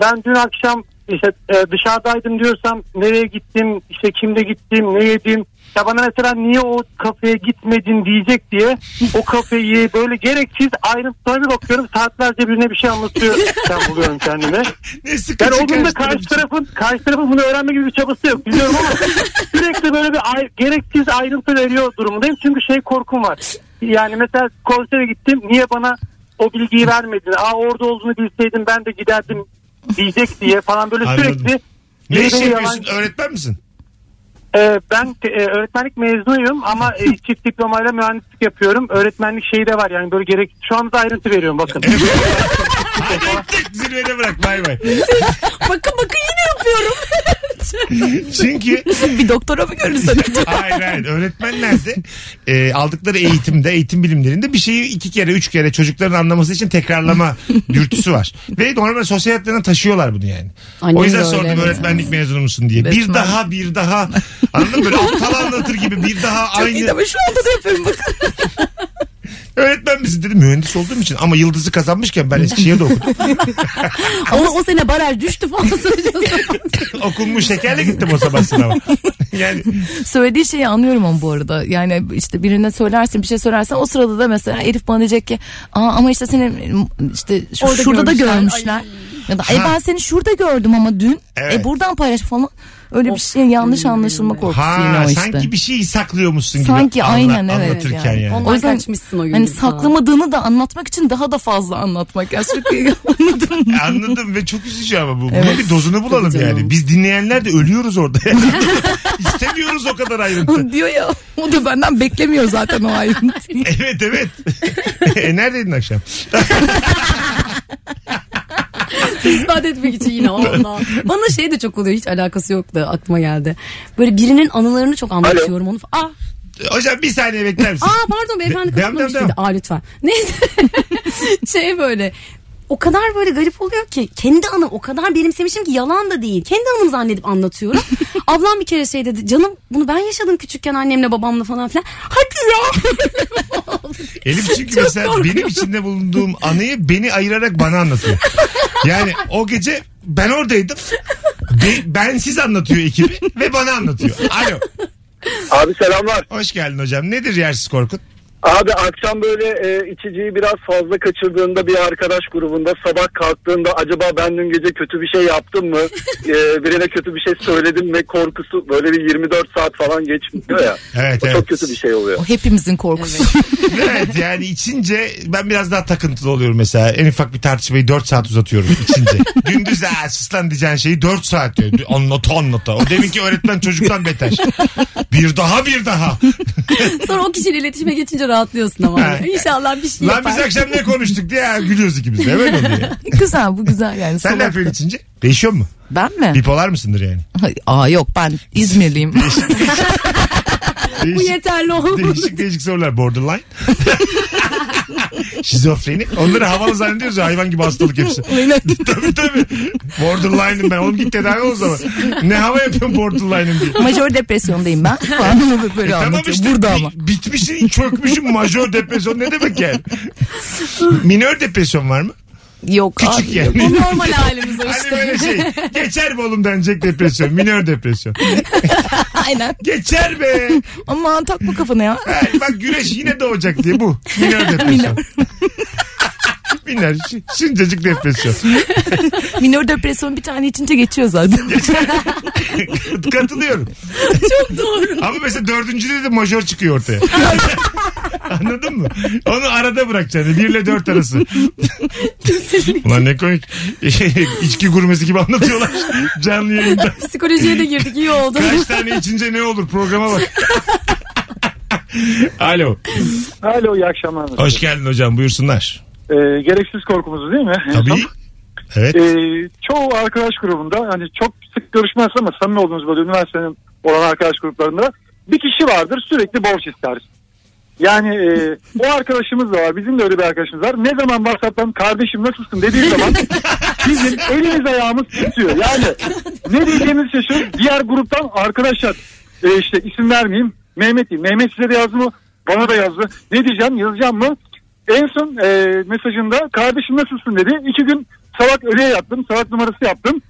S11: Ben dün akşam işte e, dışarıdaydım diyorsam nereye gittim, işte kimde gittim, ne yedim. Ya bana mesela niye o kafeye gitmedin diyecek diye o kafeyi böyle gereksiz ayrıntılarına bakıyorum. Saatlerce birine bir şey anlatıyor. Ben buluyorum kendimi.
S2: Ne sıkıcı
S11: Ben olduğumda
S2: karşılarım.
S11: karşı tarafın karşı tarafın bunu öğrenme gibi bir çabası yok biliyorum ama sürekli böyle bir ay- gereksiz ayrıntı veriyor durumundayım çünkü şey korkum var. Yani mesela konsere gittim niye bana o bilgiyi vermedin? Aa orada olduğunu bilseydim ben de giderdim diyecek diye falan böyle
S2: Anladım.
S11: sürekli
S2: Ne iş
S11: Biri beni
S2: yapıyorsun?
S11: yalan-
S2: Öğretmen misin?
S11: Ee, ben te- e, öğretmenlik mezunuyum ama e, çift diplomayla mühendislik yapıyorum. Öğretmenlik şeyi de var yani böyle gerek şu anda ayrıntı veriyorum bakın.
S2: Hadi öptük. Zirvede bırak. Bay bay.
S3: bakın bakın yine yapıyorum.
S2: Çünkü
S4: bir doktora mı görürsen?
S2: Hayır hayır öğretmenler de e, aldıkları eğitimde eğitim bilimlerinde bir şeyi iki kere üç kere çocukların anlaması için tekrarlama dürtüsü var. Ve normal sosyal hayatlarına taşıyorlar bunu yani.
S4: Annem
S2: o yüzden
S4: de öyle,
S2: sordum
S4: evet.
S2: öğretmenlik mezunu musun diye. Bir
S4: Resmen.
S2: daha bir daha anladın mı? Böyle aptal anlatır gibi bir daha
S4: Çok iyi
S2: aynı.
S4: de ben şu anda da yapıyorum bakın.
S2: Öğretmen misin dedim mühendis olduğum için ama yıldızı kazanmışken ben Eskişehir'de okudum.
S3: Ama o sene baraj düştü falan söylüyorsun.
S2: Okunmuş şekerle gittim o sabah sınava. yani
S4: Söylediği şeyi anlıyorum ama bu arada. Yani işte birine söylersin bir şey söylersen o sırada da mesela herif bana diyecek ki Aa, ama işte seni işte şu-
S3: Orada
S4: şurada da
S3: görmüşler.
S4: görmüşler.
S3: Ay.
S4: Ya da e
S2: Ha.
S4: ben seni şurada gördüm ama dün.
S2: Evet.
S4: E buradan paylaş falan. Öyle bir şey yanlış anlaşılma korkusu yine
S2: ha
S4: o işte.
S2: sanki bir şey saklıyormuşsun gibi
S4: Sanki
S2: anla-
S4: aynen, evet
S2: anlatırken
S4: yani.
S2: yani.
S3: Ondan
S4: O yüzden
S3: kaçmışsın o gün.
S4: Hani
S2: şey
S3: gibi
S4: saklamadığını da anlatmak için daha da fazla anlatmak. Ya sürekli anladım.
S2: Anladım ve çok üzücü ama bu. Bunun
S4: Evet.
S2: bir dozunu bulalım
S3: Tabii canım.
S2: yani. Biz dinleyenler de ölüyoruz orada. İstemiyoruz o kadar ayrıntı.
S4: diyor ya. O da benden beklemiyor zaten o ayrıntıyı.
S2: evet evet. e, neredeydin akşam?
S3: falan. İspat etmek için yine ondan. Bana şey de çok oluyor hiç alakası yok da aklıma geldi. Böyle birinin anılarını çok anlatıyorum onu. Ah,
S2: Hocam bir saniye bekler misin?
S3: Aa pardon beyefendi
S2: Devam, devam,
S3: kapatmamış
S2: devam.
S3: mıydı? Aa lütfen. Neyse. şey böyle. O kadar böyle garip oluyor ki kendi anım o kadar benimsemişim ki yalan da değil. Kendi anım zannedip anlatıyorum. Ablam bir kere şey dedi canım bunu ben yaşadım küçükken annemle babamla falan filan. Hadi ya.
S2: Elif çünkü
S3: Çok
S2: mesela
S3: korkuyorum.
S2: benim içinde bulunduğum anıyı beni ayırarak bana anlatıyor. Yani o gece ben oradaydım. Be- ben siz anlatıyor ekibi ve bana anlatıyor. Alo.
S7: Abi selamlar.
S2: Hoş geldin hocam. Nedir yersiz korkun?
S7: Abi akşam böyle e, içiciyi biraz fazla kaçırdığında bir arkadaş grubunda sabah kalktığında acaba ben dün gece kötü bir şey yaptım mı? E, birine kötü bir şey söyledim mi? Korkusu böyle bir 24 saat falan geçmiyor ya.
S2: Evet,
S7: o
S2: evet.
S7: çok kötü bir şey oluyor.
S4: O hepimizin korkusu.
S2: Evet yani içince ben biraz daha takıntılı oluyorum mesela. En ufak bir tartışmayı 4 saat uzatıyorum içince. Gündüz ha sus lan diyeceğin şeyi 4 saat diyor. Anlata anlata. O deminki öğretmen çocuktan beter. Bir daha bir daha.
S3: Sonra o kişiyle iletişime geçince rahatlıyorsun ama. İnşallah bir şey
S2: Lan
S3: yapar.
S2: biz akşam ne konuştuk diye ha, gülüyoruz ikimiz de. Hemen oluyor.
S4: güzel bu güzel yani.
S2: Sen ne
S4: Salak.
S2: yapıyorsun içince? Değişiyor mu?
S4: Ben mi?
S2: Bipolar mısındır yani?
S4: Hayır, Aa yok ben İzmirliyim.
S3: Bu
S2: Değişik,
S3: yeterli olmalı.
S2: değişik değişik sorular. Borderline. Şizofreni. Onları havalı zannediyoruz ya hayvan gibi hastalık hepsi.
S4: Aynen.
S2: tabii tabii. Borderline'ım ben. Oğlum git tedavi ol o zaman. Ne hava yapıyorsun borderline'ım diye.
S4: Majör depresyondayım ben. Falan böyle
S2: E,
S4: anlatıyor. Burada
S2: bi-
S4: ama.
S2: bitmişsin, çökmüşsün. Majör depresyon ne demek yani? Minör depresyon var mı?
S4: Yok
S2: Küçük
S4: abi.
S2: yani.
S3: Bu normal halimiz o
S2: Hani
S3: işte.
S2: böyle şey. Geçer mi oğlum denecek depresyon. Minör depresyon.
S4: Aynen.
S2: Geçer be.
S4: Aman takma kafana ya.
S2: Ha, bak güneş yine doğacak diye bu. Minör depresyon. Minör. şi- Şincecik depresyon.
S4: Minör depresyon bir tane içince geçiyor zaten.
S2: Katılıyorum.
S3: Çok doğru.
S2: Ama mesela dördüncüde de majör çıkıyor ortaya. Anladın mı? Onu arada bırakacaksın. Bir ile dört arası. Ulan ne komik. İçki gurmesi gibi anlatıyorlar. Canlı yayında.
S3: Psikolojiye de girdik iyi oldu.
S2: Kaç tane içince ne olur programa bak. Alo.
S7: Alo iyi akşamlar. E,
S2: Hoş geldin hocam buyursunlar.
S7: gereksiz korkumuzu değil mi?
S2: Tabii. Evet.
S7: Ee, çoğu arkadaş grubunda hani çok sık görüşmezsin ama samimi olduğunuz böyle üniversitenin olan arkadaş gruplarında bir kişi vardır sürekli borç ister. Yani e, o arkadaşımız da var. Bizim de öyle bir arkadaşımız var. Ne zaman WhatsApp'tan kardeşim nasılsın dediği zaman bizim elimiz ayağımız tutuyor. Yani ne diyeceğimiz şaşırır. Diğer gruptan arkadaşlar e, işte isim vermeyeyim. Mehmet diyeyim. Mehmet size de yazdı mı? Bana da yazdı. Ne diyeceğim? Yazacağım mı? En son e, mesajında kardeşim nasılsın dedi. İki gün salak ölüye yattım. Salak numarası yaptım.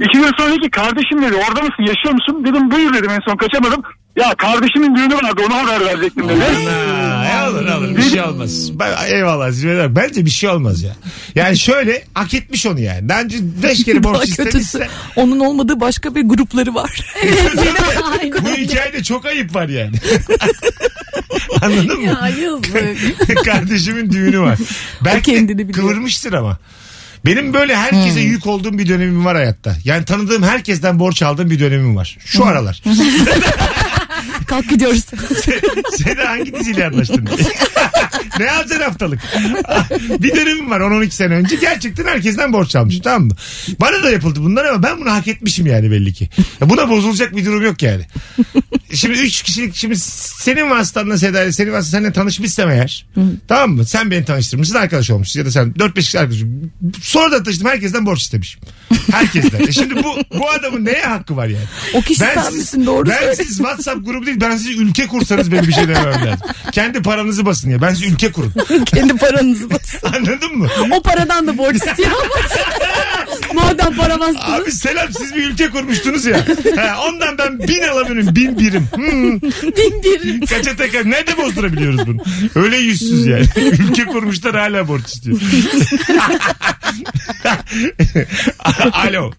S7: İki gün sonra dedi ki kardeşim dedi orada mısın yaşıyor musun? Dedim buyur dedim en son kaçamadım. Ya kardeşimin düğünü vardı ona haber verecektim dedi.
S2: Ha, olur olur bir şey olmaz. Ben, eyvallah Zübeyir Hanım. Bence bir şey olmaz ya. Yani şöyle hak etmiş onu yani. Daha önce beş kere
S4: Daha
S2: borç
S4: kötüsü.
S2: istemişse
S4: Onun olmadığı başka bir grupları var.
S2: bu hikayede çok ayıp var yani. Anladın mı?
S3: Ya yazık.
S2: Kardeşimin düğünü var. Belki de
S4: kendini biliyor. Hmm.
S2: kıvırmıştır ama. Benim böyle herkese yük olduğum bir dönemim var hayatta. Yani tanıdığım herkesten borç aldığım bir dönemim var. Şu aralar.
S4: Hmm. kalk gidiyoruz.
S2: Sen hangi diziyle anlaştın? ne yapacaksın haftalık? bir dönemim var 10-12 sene önce. Gerçekten herkesten borç almışım tamam mı? Bana da yapıldı bunlar ama ben bunu hak etmişim yani belli ki. Ya buna bozulacak bir durum yok yani. Şimdi 3 kişilik şimdi senin vasıtanla Seda'yla senin vasıtanla seninle tanışmışsam eğer. tamam mı? Sen beni tanıştırmışsın arkadaş olmuşsun ya da sen 4-5 kişi arkadaşım. Sonra da tanıştım herkesten borç istemişim. Herkesten. E şimdi bu, bu adamın neye hakkı var yani?
S4: O kişi
S2: Ben
S4: sen
S2: siz-
S4: misin doğru
S2: ben
S4: söyle.
S2: siz WhatsApp grubu değil ben siz ülke kursanız benim bir şey demem lazım. Kendi paranızı basın ya ben siz ülke kurun.
S4: Kendi paranızı basın.
S2: Anladın mı?
S3: O paradan da borç istiyor Madem para bastınız.
S2: Abi selam siz bir ülke kurmuştunuz ya. Ha, ondan ben bin alabilirim bin birim. Hmm,
S3: Bin bir.
S2: kaça takar ne de bozdurabiliyoruz bunu. Öyle yüzsüz yani. ülke kurmuşlar hala borç istiyor. Alo.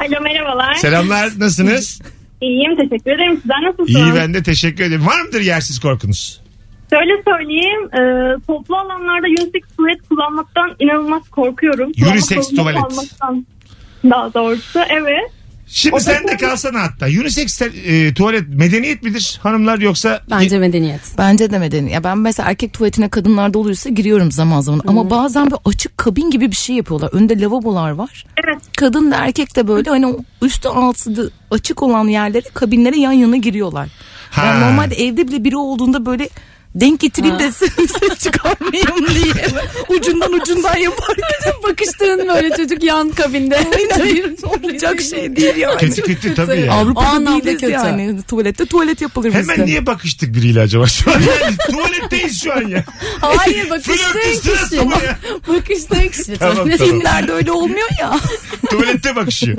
S8: Alo merhabalar.
S2: Selamlar nasılsınız?
S8: İyiyim teşekkür ederim. Sizler nasılsınız?
S2: İyi ben de teşekkür ederim. Var mıdır yersiz korkunuz?
S8: Şöyle söyleyeyim e, toplu alanlarda unisex tuvalet kullanmaktan inanılmaz korkuyorum. Kullanmak
S2: Unisex
S8: zorunda
S2: tuvalet.
S8: kalmaktan Daha doğrusu evet.
S2: Şimdi
S8: O da
S2: sen de
S8: tabii.
S2: kalsana hatta. Unisex te- e, tuvalet medeniyet midir hanımlar yoksa
S3: Bence medeniyet.
S4: Bence de medeni. Ya ben mesela erkek tuvaletine kadınlarda oluyorsa giriyorum zaman zaman. Ama bazen böyle açık kabin gibi bir şey yapıyorlar. Önde lavabolar var.
S8: Evet.
S4: Kadın da erkek de böyle hani o üstü altı da açık olan yerlere kabinlere yan yana giriyorlar.
S2: Ha.
S4: Yani normalde evde bile biri olduğunda böyle denk getireyim de ses çıkarmayayım diye ucundan ucundan yaparken
S3: Bakıştığın böyle çocuk yan kabinde. Hayır
S4: olacak şey değil yani.
S2: kötü kötü tabii yani.
S3: O anlamda
S4: Avrupa'da değiliz
S3: kötü.
S4: yani. Tuvalette tuvalet yapılır bizde.
S2: Hemen niye bakıştık biriyle acaba şu an? Yani tuvaletteyiz şu an ya.
S3: Hayır
S2: Flörtün
S3: bakıştığın
S2: sırası
S3: kişi.
S2: mı ya?
S3: bakıştığın kişi.
S2: Tamam, tamam.
S4: Filmlerde öyle olmuyor ya.
S2: Tuvalette bakışıyor.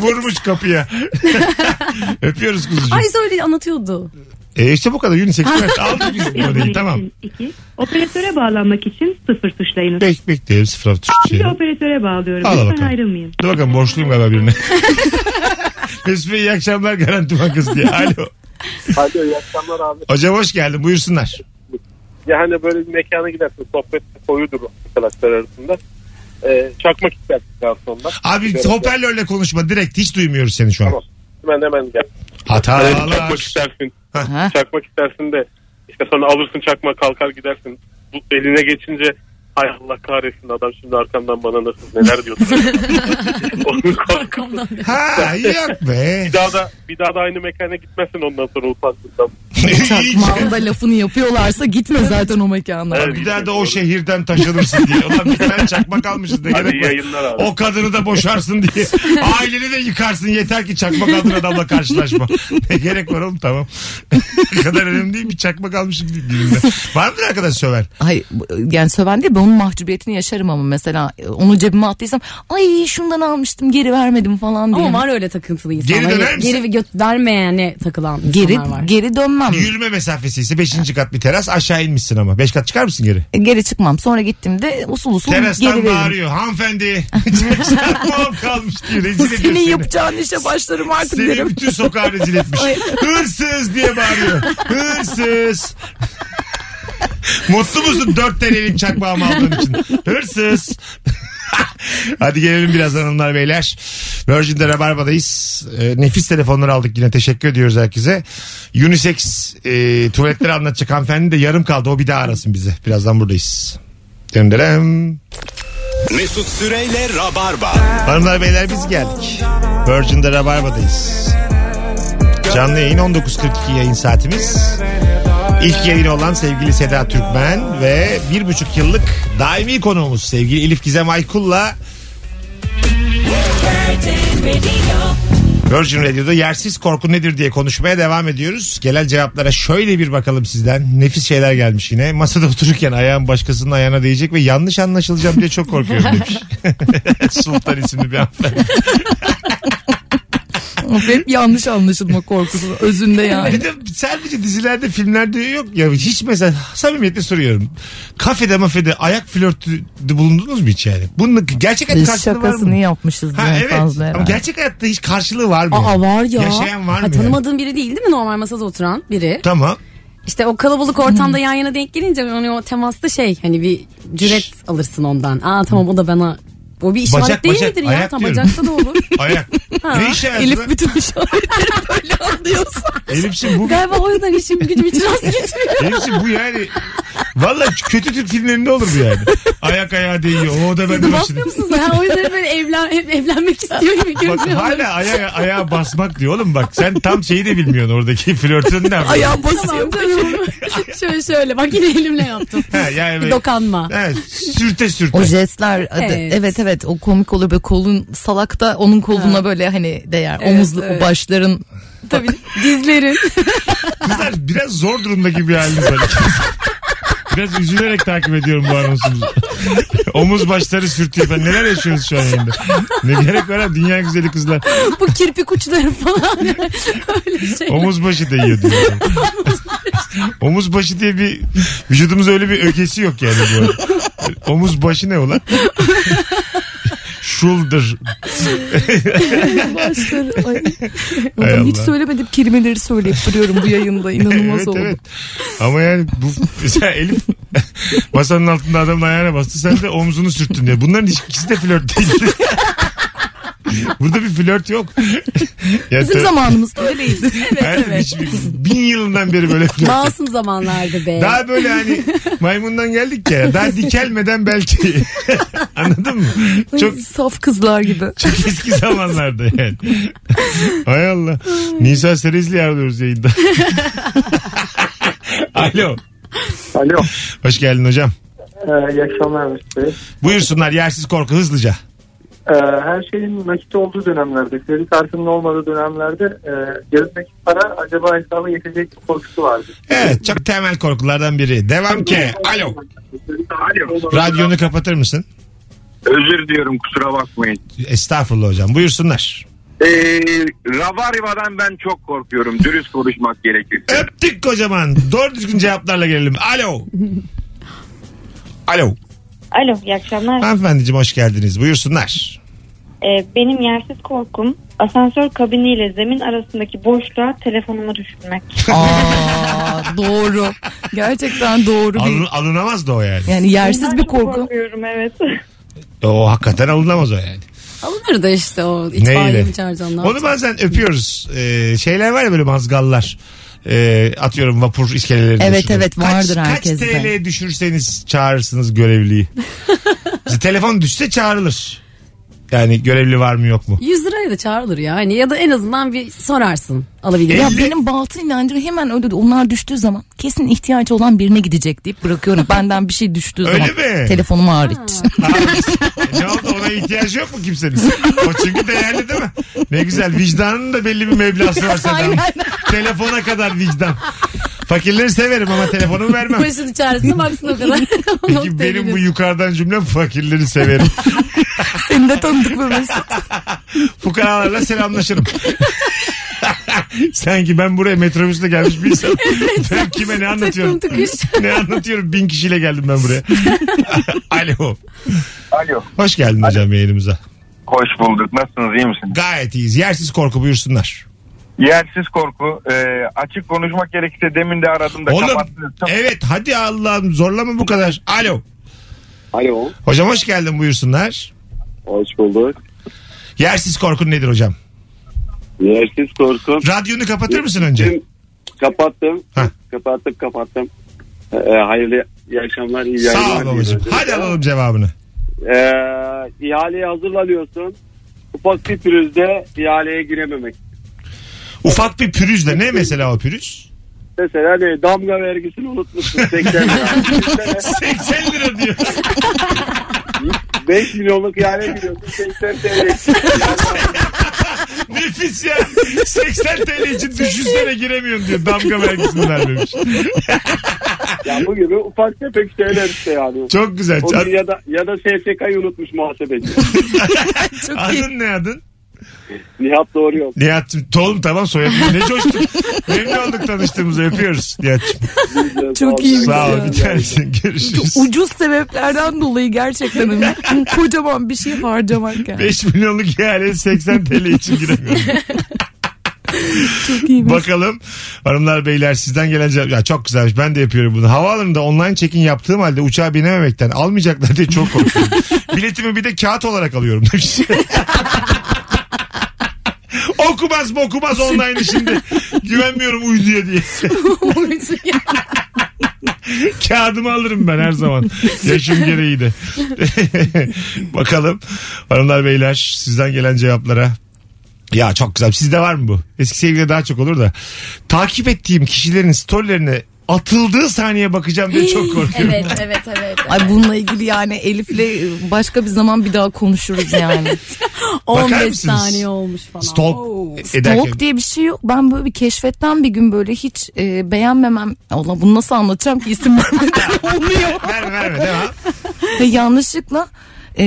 S2: Vurmuş kapıya. Öpüyoruz kuzucuğum.
S3: Ay söyle anlatıyordu.
S2: E işte bu kadar unisex tuvalet. Aldık biz bu orayı tamam.
S10: Operatöre bağlanmak için sıfır tuşlayınız.
S2: Bek bekleyelim sıfır hafta
S10: Bir
S2: Türkçe'ye.
S10: de operatöre bağlıyorum.
S2: Al
S10: Lütfen
S2: bakalım.
S10: ayrılmayın.
S2: Dur bakalım borçluyum galiba birine. Mesut Bey iyi akşamlar Garanti Bankası diye. Alo.
S5: Alo iyi akşamlar abi.
S2: Hocam hoş geldin buyursunlar.
S5: Ya hani böyle bir mekana gidersin sohbet koyudur arkadaşlar arasında. Ee, çakmak istersin garsondan.
S2: Abi
S5: Evet,
S2: hoparlörle konuşma direkt hiç duymuyoruz seni şu an.
S5: Tamam. Hemen hemen gel. Hani çakmak
S2: Hatalar.
S5: istersin.
S4: Ha.
S5: Çakmak istersin de işte sonra alırsın çakma kalkar gidersin. Bu eline geçince hay Allah kahretsin adam şimdi arkamdan bana nasıl neler diyordu. Onun korkusu.
S2: Ha yok be.
S5: Bir daha da bir daha da aynı mekana gitmezsin ondan sonra ufaklıktan.
S4: Çakmağında lafını yapıyorlarsa gitme zaten o mekana.
S5: Evet.
S2: Bir daha da o şehirden taşınırsın diye. Ulan bir tane çakmak almışız ne
S5: Hadi
S2: gerek var.
S5: yayınlar abi.
S2: O kadını da boşarsın diye. Aileni de yıkarsın yeter ki çakmak aldın adamla karşılaşma. Ne gerek var oğlum tamam. Ne kadar önemli değil bir çakmak almışım diye birinde. Var mıdır arkadaş söver?
S4: Hayır yani söven değil ben onun mahcubiyetini yaşarım ama mesela e, onu cebime attıysam ay şundan almıştım geri vermedim falan diye.
S3: Ama var öyle takıntılı insanlar. Hani
S2: Geri döner misin?
S3: Geri gö- vermeyene takılan insanlar
S4: geri
S3: var.
S4: geri dönmem.
S2: Yürüme mesafesi ise 5. kat bir teras aşağı inmişsin ama. 5 kat çıkar mısın geri?
S4: E, Geri çıkmam. Sonra gittiğimde usul usul geri
S2: Terastan
S4: veririm.
S2: bağırıyor hanımefendi. Çakmağım kalmış diye rezil ediyor
S4: Senin
S2: seni.
S4: yapacağın işe başlarım artık
S2: Seni
S4: derim.
S2: bütün sokağa rezil etmiş. Hırsız diye bağırıyor. Hırsız. Mutlu musun dört TL'lik çakmağımı aldığın için? Hırsız. Hadi gelelim biraz hanımlar beyler. Virgin'de Rabarba'dayız. Ee, nefis telefonları aldık yine. Teşekkür ediyoruz herkese. Unisex e, tuvaletleri anlatacak hanımefendi de yarım kaldı. O bir daha arasın bizi. Birazdan buradayız. Demderem.
S1: Mesut Süreyle Rabarba.
S2: Hanımlar beyler biz geldik. Virgin'de Rabarba'dayız. Canlı yayın 19.42 yayın saatimiz. İlk yayın olan sevgili Seda Türkmen ve bir buçuk yıllık daimi konuğumuz sevgili Elif Gizem Aykul'la Virgin Radio'da yersiz korku nedir diye konuşmaya devam ediyoruz. Gelen cevaplara şöyle bir bakalım sizden. Nefis şeyler gelmiş yine. Masada otururken ayağım başkasının ayağına değecek ve yanlış anlaşılacağım diye çok korkuyorum demiş. Sultan isimli bir hanımefendi.
S4: Hep yanlış anlaşılma korkusu özünde yani.
S2: Bir de sadece dizilerde filmlerde yok ya hiç mesela samimiyetle soruyorum. Kafede mafede ayak flörtü de bulundunuz mu hiç yani? Bunun gerçek hayat
S4: Biz
S2: karşılığı var
S4: şakasını
S2: mı?
S4: yapmışız
S2: Ha
S4: yani
S2: evet
S4: fazla
S2: ama
S4: herhalde.
S2: gerçek hayatta hiç karşılığı var mı?
S3: Aa
S2: yani?
S3: var ya.
S2: Yaşayan var
S3: Ha,
S2: mı? yani?
S3: Tanımadığın biri değil değil mi normal masada oturan biri?
S2: Tamam.
S3: İşte o kalabalık ortamda yan yana denk gelince hani o temasta şey hani bir cüret alırsın ondan. Aa tamam o da bana
S4: O bir işaret
S2: Bacak,
S4: değil
S2: bacak,
S4: midir ya?
S2: ayak
S4: Tam
S2: diyorum.
S4: bacakta da olur.
S2: Ayak. ne işe yarar?
S4: Elif bütün işaretleri böyle anlıyorsun.
S2: Elif'ciğim bu
S3: Galiba o yüzden işim gücüm hiç rast gitmiyor.
S2: Elif'ciğim bu yani Valla kötü Türk filmlerinde olur bu yani. Ayak ayağa değiyor. O da
S3: Siz
S2: ben
S3: de
S2: de
S3: basmıyor musunuz? Ha, o yüzden böyle evlen, hep evlenmek istiyor gibi
S2: Bak
S3: görünüyor.
S2: hala aya, ayağa basmak diyor oğlum bak. Sen tam şeyi de bilmiyorsun oradaki flörtün ne yapıyor?
S4: Ayağım basıyor.
S3: Tamam canım. şöyle şöyle bak yine elimle yaptım.
S2: Ha, yani
S3: Bir
S2: böyle-
S3: dokanma.
S2: Evet, sürte sürte.
S4: O jestler evet.
S3: Evet.
S4: evet o komik oluyor böyle kolun salakta onun koluna böyle hani değer
S3: Evet,
S4: omuzlu
S3: evet.
S4: o başların
S3: Tabii dizlerin.
S2: Kızlar biraz zor durumda gibi haliniz var. Biraz üzülerek takip ediyorum bu anonsunuzu. Omuz başları sürtüyor. Ben neler yaşıyoruz şu an yayında. Ne gerek var ha dünya güzeli kızlar.
S3: Bu kirpik uçları falan. Öyle şey.
S2: Omuz başı da yiyor diyor. Omuz başı diye bir vücudumuz öyle bir ögesi yok yani bu arada. Omuz başı ne ulan? Shoulder.
S4: başları. Ay.
S2: Hay
S4: Adam hiç
S2: Allah.
S4: söylemedim kelimeleri söyleyip duruyorum bu yayında inanılmaz
S2: evet
S4: oldu.
S2: evet. Ama yani bu mesela Elif masanın altında adamın ayağına bastı. Sen de omzunu sürttün diye. Bunların hiç- ikisi de flört değil. Burada bir flört yok. Ya
S4: Bizim
S2: tabii-
S4: zamanımız öyleydi.
S2: her- hiçbir- bin yılından beri böyle flört.
S3: Masum zamanlardı be.
S2: Daha böyle hani maymundan geldik ya. Daha dikelmeden belki. Anladın mı? Çok
S4: Çok saf kızlar gibi.
S2: çok eski zamanlarda yani. Hay Allah. Nisa Serezli arıyoruz yayında. Alo.
S5: Alo.
S2: Hoş geldin hocam.
S5: Ee, iyi akşamlar Mesut Bey.
S2: Buyursunlar yersiz korku hızlıca.
S5: Ee, her şeyin nakit olduğu dönemlerde, kredi kartının olmadığı dönemlerde e, yarın nakit para acaba hesaba yetecek mi korkusu vardı.
S2: Evet çok temel korkulardan biri. Devam ki. Alo.
S6: Alo.
S2: Radyonu kapatır mısın?
S6: Özür diliyorum kusura bakmayın.
S2: Estağfurullah hocam. Buyursunlar.
S6: Ee, Ravariva'dan ben çok korkuyorum. Dürüst konuşmak gerekir.
S2: Öptük kocaman. Doğru düzgün cevaplarla gelelim. Alo. Alo.
S8: Alo iyi akşamlar.
S2: Hanımefendiciğim hoş geldiniz. Buyursunlar.
S8: Ee, benim yersiz korkum asansör kabiniyle zemin arasındaki boşluğa telefonumu düşürmek.
S4: Aa, doğru. Gerçekten doğru bir
S2: Alın, alınamaz da o yani.
S4: yani yersiz
S8: Bundan
S4: bir
S8: çok
S4: korku.
S8: Korkuyorum evet.
S2: O hakikaten alınamaz o yani.
S3: Alınır da işte o itfaiye
S2: Neyle?
S3: mi çağıracaksın?
S2: Onu bazen öpüyoruz. Ee, şeyler var ya böyle mazgallar. Ee, atıyorum vapur iskeleleri
S4: Evet, evet, vardır
S2: kaç,
S4: herkeste.
S2: Kaç TL düşürseniz çağırırsınız görevliyi. Mesela telefon düşse çağrılır. Yani görevli var mı yok mu?
S3: 100 liraya da çağrılır ya. Hani ya da en azından bir sorarsın. Alabilir.
S4: Ya
S2: Elli-
S4: benim baltın inancım hemen öyle diyor. onlar düştüğü zaman kesin ihtiyaç olan birine gidecek deyip bırakıyorum. Benden bir şey düştüğü
S2: Öyle
S4: zaman
S2: mi?
S4: telefonum hariç.
S2: E, ne oldu ona ihtiyacı yok mu kimsenin? O çünkü değerli değil mi? Ne güzel vicdanın da belli bir meblası var Seda'nın. Telefona kadar vicdan. Fakirleri severim ama telefonumu vermem.
S3: Başın içerisinde baksın o kadar.
S2: Peki benim bu yukarıdan cümlem fakirleri severim.
S4: Seni de tanıdık mı Mesut?
S2: Fukaralarla selamlaşırım. Sanki ben buraya metrobüsle gelmiş bir insanım. ben kime ne anlatıyorum?
S3: tıkış.
S2: ne anlatıyorum? Bin kişiyle geldim ben buraya. Alo.
S6: Alo.
S2: Hoş geldin hocam yayınımıza.
S6: Hoş bulduk. Nasılsınız iyi misiniz?
S2: Gayet iyiyiz. Yersiz korku buyursunlar.
S6: Yersiz korku. Ee, açık konuşmak gerekirse demin de aradım da
S2: Oğlum
S6: kapattınız.
S2: evet hadi Allah'ım zorlama bu kadar. Alo.
S7: Alo.
S2: Hocam hoş geldin buyursunlar.
S7: Hoş bulduk.
S2: Yersiz korkun nedir hocam?
S7: Yersiz korkum.
S2: Radyonu kapatır mısın önce?
S7: Dün Kapattım.
S2: Hah.
S7: Kapattım kapattım. Ee, hayırlı iyi akşamlar. iyi
S2: Sağ ol
S7: yayınlar
S2: babacığım.
S7: diliyorum.
S2: Hadi alalım cevabını.
S7: Ee, ihaleye hazırlanıyorsun. Ufak bir pürüzde ihaleye girememek.
S2: Ufak bir pürüzle ne mesela o pürüz?
S7: Mesela ne, damga vergisini unutmuşsun 80 lira.
S2: 80 lira diyor.
S7: 5 milyonluk şey, ihaleye giriyorsun 80 TL.
S2: Nefis ya. 80 TL için düşünsene giremiyorsun diyor. Damga vergisini vermemiş.
S7: Ya bu gibi ufak tefek şeyler işte yani.
S2: Çok güzel.
S7: O gün
S2: Ad-
S7: ya da ya da SSK'yı unutmuş muhasebeci.
S2: adın ne adın?
S7: Nihat doğru yok.
S2: Nihat'cığım. Oğlum tamam soyadın. Ne coştuk. Memnun olduk tanıştığımıza. Öpüyoruz Nihat'cığım.
S4: Çok iyi bir
S2: Sağ ol.
S4: Ya.
S2: Bir tanesin. Görüşürüz.
S4: Ucuz sebeplerden dolayı gerçekten hani kocaman bir şey harcamak yani.
S2: 5 milyonluk ihaleye 80 TL için giremiyorum.
S4: Çok iyi.
S2: Bakalım hanımlar beyler sizden gelen cevap. Ya çok güzelmiş ben de yapıyorum bunu. Havaalanında online check-in yaptığım halde uçağa binememekten almayacaklar diye çok korkuyorum. Biletimi bir de kağıt olarak alıyorum demiş. okumaz mı okumaz online şimdi. Güvenmiyorum uyduya diye. Kağıdımı alırım ben her zaman. Yaşım gereği de. Bakalım hanımlar beyler sizden gelen cevaplara. Ya çok güzel. Sizde var mı bu? Eski sevgilide daha çok olur da. Takip ettiğim kişilerin storylerine atıldığı saniye bakacağım diye çok korkuyorum.
S3: evet evet evet.
S4: Ay bununla ilgili yani Elif'le başka bir zaman bir daha konuşuruz yani.
S3: 15
S2: mısınız?
S3: saniye olmuş falan.
S2: Stalk
S3: Oo.
S2: ederken.
S4: Stalk diye bir şey yok. Ben böyle bir keşfetten bir gün böyle hiç e, beğenmemem. Allah bunu nasıl anlatacağım ki isim vermeden olmuyor.
S2: Verme verme devam.
S4: Ve yanlışlıkla e,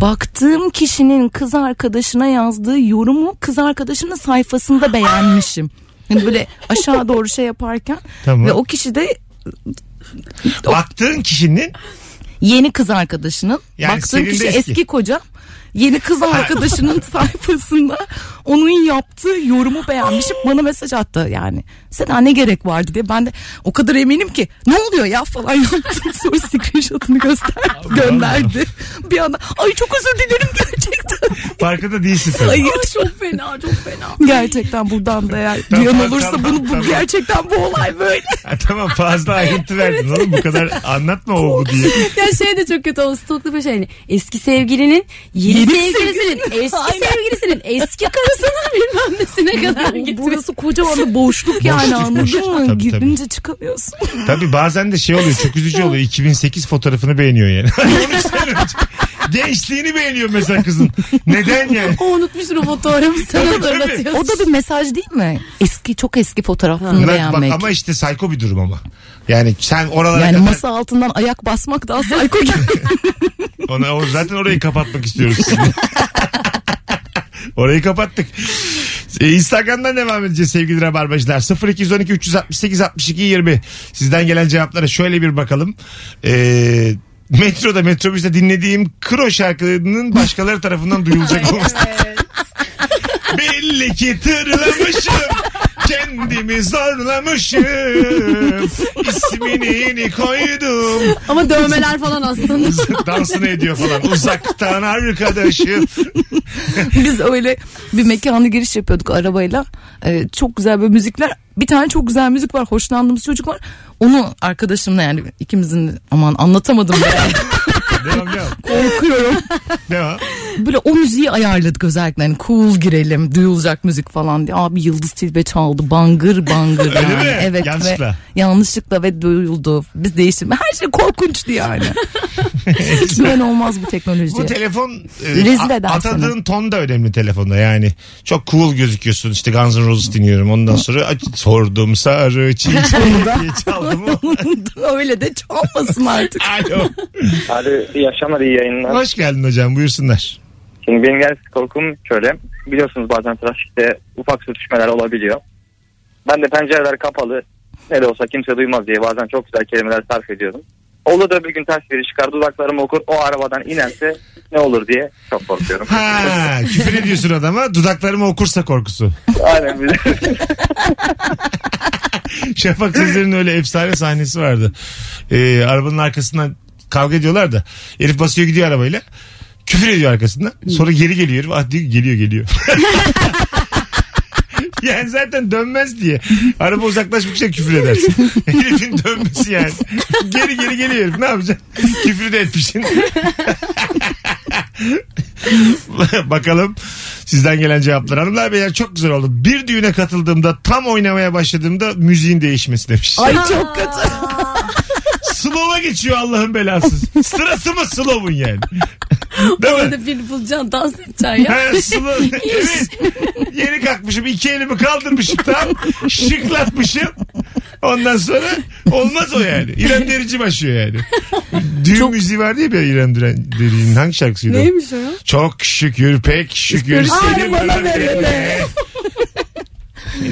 S4: baktığım kişinin kız arkadaşına yazdığı yorumu kız arkadaşının sayfasında beğenmişim. Yani böyle aşağı doğru şey yaparken
S2: Tamam.
S4: ve o kişi de
S2: Baktığın kişinin
S4: yeni kız arkadaşının
S2: Yani senin
S4: baktığım
S2: de
S4: kişi
S2: eski.
S4: eski. kocam yeni kız arkadaşının sayfasında onun yaptığı yorumu beğenmişim bana mesaj attı yani sana ne gerek vardı diye ben de o kadar eminim ki ne oluyor ya falan yaptım sonra screenshot'ını göster gönderdi bir anda ay çok özür dilerim gerçekten
S2: farkında değilsin tabii.
S4: Hayır.
S3: Ay, çok fena çok fena.
S4: gerçekten buradan da eğer
S2: Tamam,
S4: duyan
S2: tamam,
S4: olursa
S2: tamam,
S4: bunu bu
S2: tamam.
S4: gerçekten bu olay böyle
S2: Ha, tamam fazla ayrıntı verdin oğlum bu kadar anlatma o bu diye.
S3: ya şey de çok kötü o stalklu bir şey. Yani Eski sevgilinin, yeni, sevgilisinin, eski sevgilisinin, eski karısının bilmem nesine kadar gitmesi.
S4: burası kocaman bir boşluk yani
S2: Boşluk,
S4: anladın
S2: boşluk. Tabii,
S4: mı
S2: tabii.
S4: girince çıkamıyorsun
S2: Tabii bazen de şey oluyor çok üzücü oluyor 2008 fotoğrafını beğeniyor yani. 13 sene önce. Gençliğini beğeniyor mesela kızın. Neden yani?
S3: O unutmuşsun o fotoğrafı sen
S2: Tabii, tabii.
S3: hatırlatıyorsun.
S4: O da bir mesaj değil mi? Eski çok eski fotoğrafını
S2: Bak, bak
S4: beğenmek.
S2: ama işte sayko bir durum ama. Yani sen oralara
S4: yani
S2: kadar-
S4: masa altından ayak basmak daha sayko gibi.
S2: Ona, o- zaten orayı kapatmak istiyoruz. şimdi. orayı kapattık. Ee, Instagram'dan devam edeceğiz sevgili Rabarbacılar. 0212 368 62 20. Sizden gelen cevaplara şöyle bir bakalım. Ee, metroda metrobüste dinlediğim kro şarkılarının başkaları tarafından duyulacak olması. Belli ki tırlamışım. Kendimi zorlamışım. İsmini yeni koydum.
S3: Ama dövmeler falan aslında.
S2: Dansını ediyor falan. Uzaktan arkadaşım.
S4: Biz öyle bir mekana giriş yapıyorduk arabayla. Ee, çok güzel böyle müzikler. Bir tane çok güzel müzik var. Hoşlandığımız çocuk var. Onu arkadaşımla yani ikimizin aman anlatamadım ben.
S2: Devam devam.
S4: korkuyorum.
S2: Devam.
S4: Böyle o müziği ayarladık özellikle. Hani cool girelim duyulacak müzik falan diye. Abi Yıldız Tilbe çaldı bangır bangır.
S2: Öyle
S4: yani.
S2: mi?
S4: Evet
S2: Yanlışlıkla.
S4: Ve, yanlışlıkla ve duyuldu. Biz değiştirme. Her şey korkunçtu yani. Hiç güven olmaz bu teknolojiye.
S2: Bu telefon e,
S4: Rezil
S2: a-
S4: eder
S2: atadığın ton da önemli telefonda yani. Çok cool gözüküyorsun işte Guns N' Roses dinliyorum ondan sonra aç- sordum sarı çiçeği diye çaldım.
S4: Öyle de çalmasın artık.
S2: Alo.
S5: Hadi iyi akşamlar iyi yayınlar.
S2: Hoş geldin hocam buyursunlar.
S5: Şimdi benim genel korkum şöyle. Biliyorsunuz bazen trafikte ufak sürtüşmeler olabiliyor. Ben de pencereler kapalı. Ne de olsa kimse duymaz diye bazen çok güzel kelimeler sarf ediyorum. Olur da bir gün ters biri çıkar dudaklarımı okur o arabadan inerse ne olur diye çok korkuyorum.
S2: Ha, küfür ediyorsun adama dudaklarımı okursa korkusu.
S5: Aynen bize.
S2: Şafak Sezer'in öyle efsane sahnesi vardı. Ee, arabanın arkasından kavga ediyorlar da herif basıyor gidiyor arabayla. Küfür ediyor arkasından. Sonra geri geliyor herif. Ah diyor ki, geliyor geliyor. yani zaten dönmez diye. Araba uzaklaşmışsa küfür edersin. Herifin dönmesi yani. Geri geri geliyor herif. Ne yapacaksın? Küfür de etmişsin. Bakalım sizden gelen cevaplar. Hanımlar beyler çok güzel oldu. Bir düğüne katıldığımda tam oynamaya başladığımda müziğin değişmesi demiş.
S4: Ay çok kötü.
S2: Slow'a geçiyor Allah'ın belası. Sırası mı slow'un yani? Değil mi?
S3: Orada bir bulacaksın dans edeceksin ya.
S2: Ha, slow. evet. Yeni kalkmışım. iki elimi kaldırmışım tam. Şıklatmışım. Ondan sonra olmaz o yani. İrem Derici başlıyor yani. Düğün müziği var diye bir İrem Düren- Derici'nin hangi şarkısıydı? o?
S3: Neymiş o ya?
S2: Çok şükür pek şükür seni bana verene.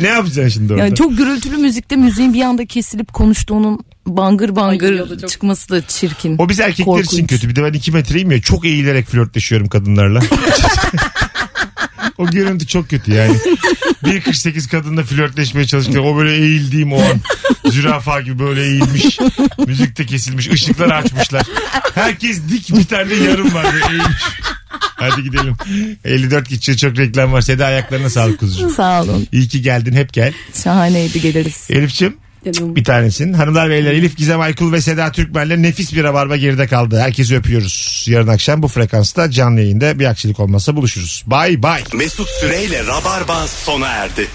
S2: ne yapacaksın şimdi orada?
S4: Yani çok gürültülü müzikte müziğin bir anda kesilip konuştuğunun bangır
S3: Ay, o
S4: bangır
S3: da çok-
S4: çıkması da çirkin.
S2: O biz erkekler için
S4: Korkunç.
S2: kötü. Bir de ben 2 metreyim ya çok eğilerek flörtleşiyorum kadınlarla. O görüntü çok kötü yani. 1.48 kadınla flörtleşmeye çalıştı. O böyle eğildiğim o an. Zürafa gibi böyle eğilmiş. Müzik de kesilmiş. Işıkları açmışlar. Herkes dik bir tane yarım var böyle eğilmiş. Hadi gidelim. 54 geçiyor çok reklam var. Seda ayaklarına sağlık kuzucuğum.
S4: Sağ olun.
S2: İyi ki geldin hep gel.
S4: Şahaneydi geliriz.
S2: Elif'ciğim
S3: Canım.
S2: bir tanesin. Hanımlar beyler Elif Gizem Aykul ve Seda Türkmen'le nefis bir rabarba geride kaldı. Herkesi öpüyoruz. Yarın akşam bu frekansta canlı yayında bir aksilik olmazsa buluşuruz. Bay bay.
S1: Mesut Süreyle Rabarba sona erdi.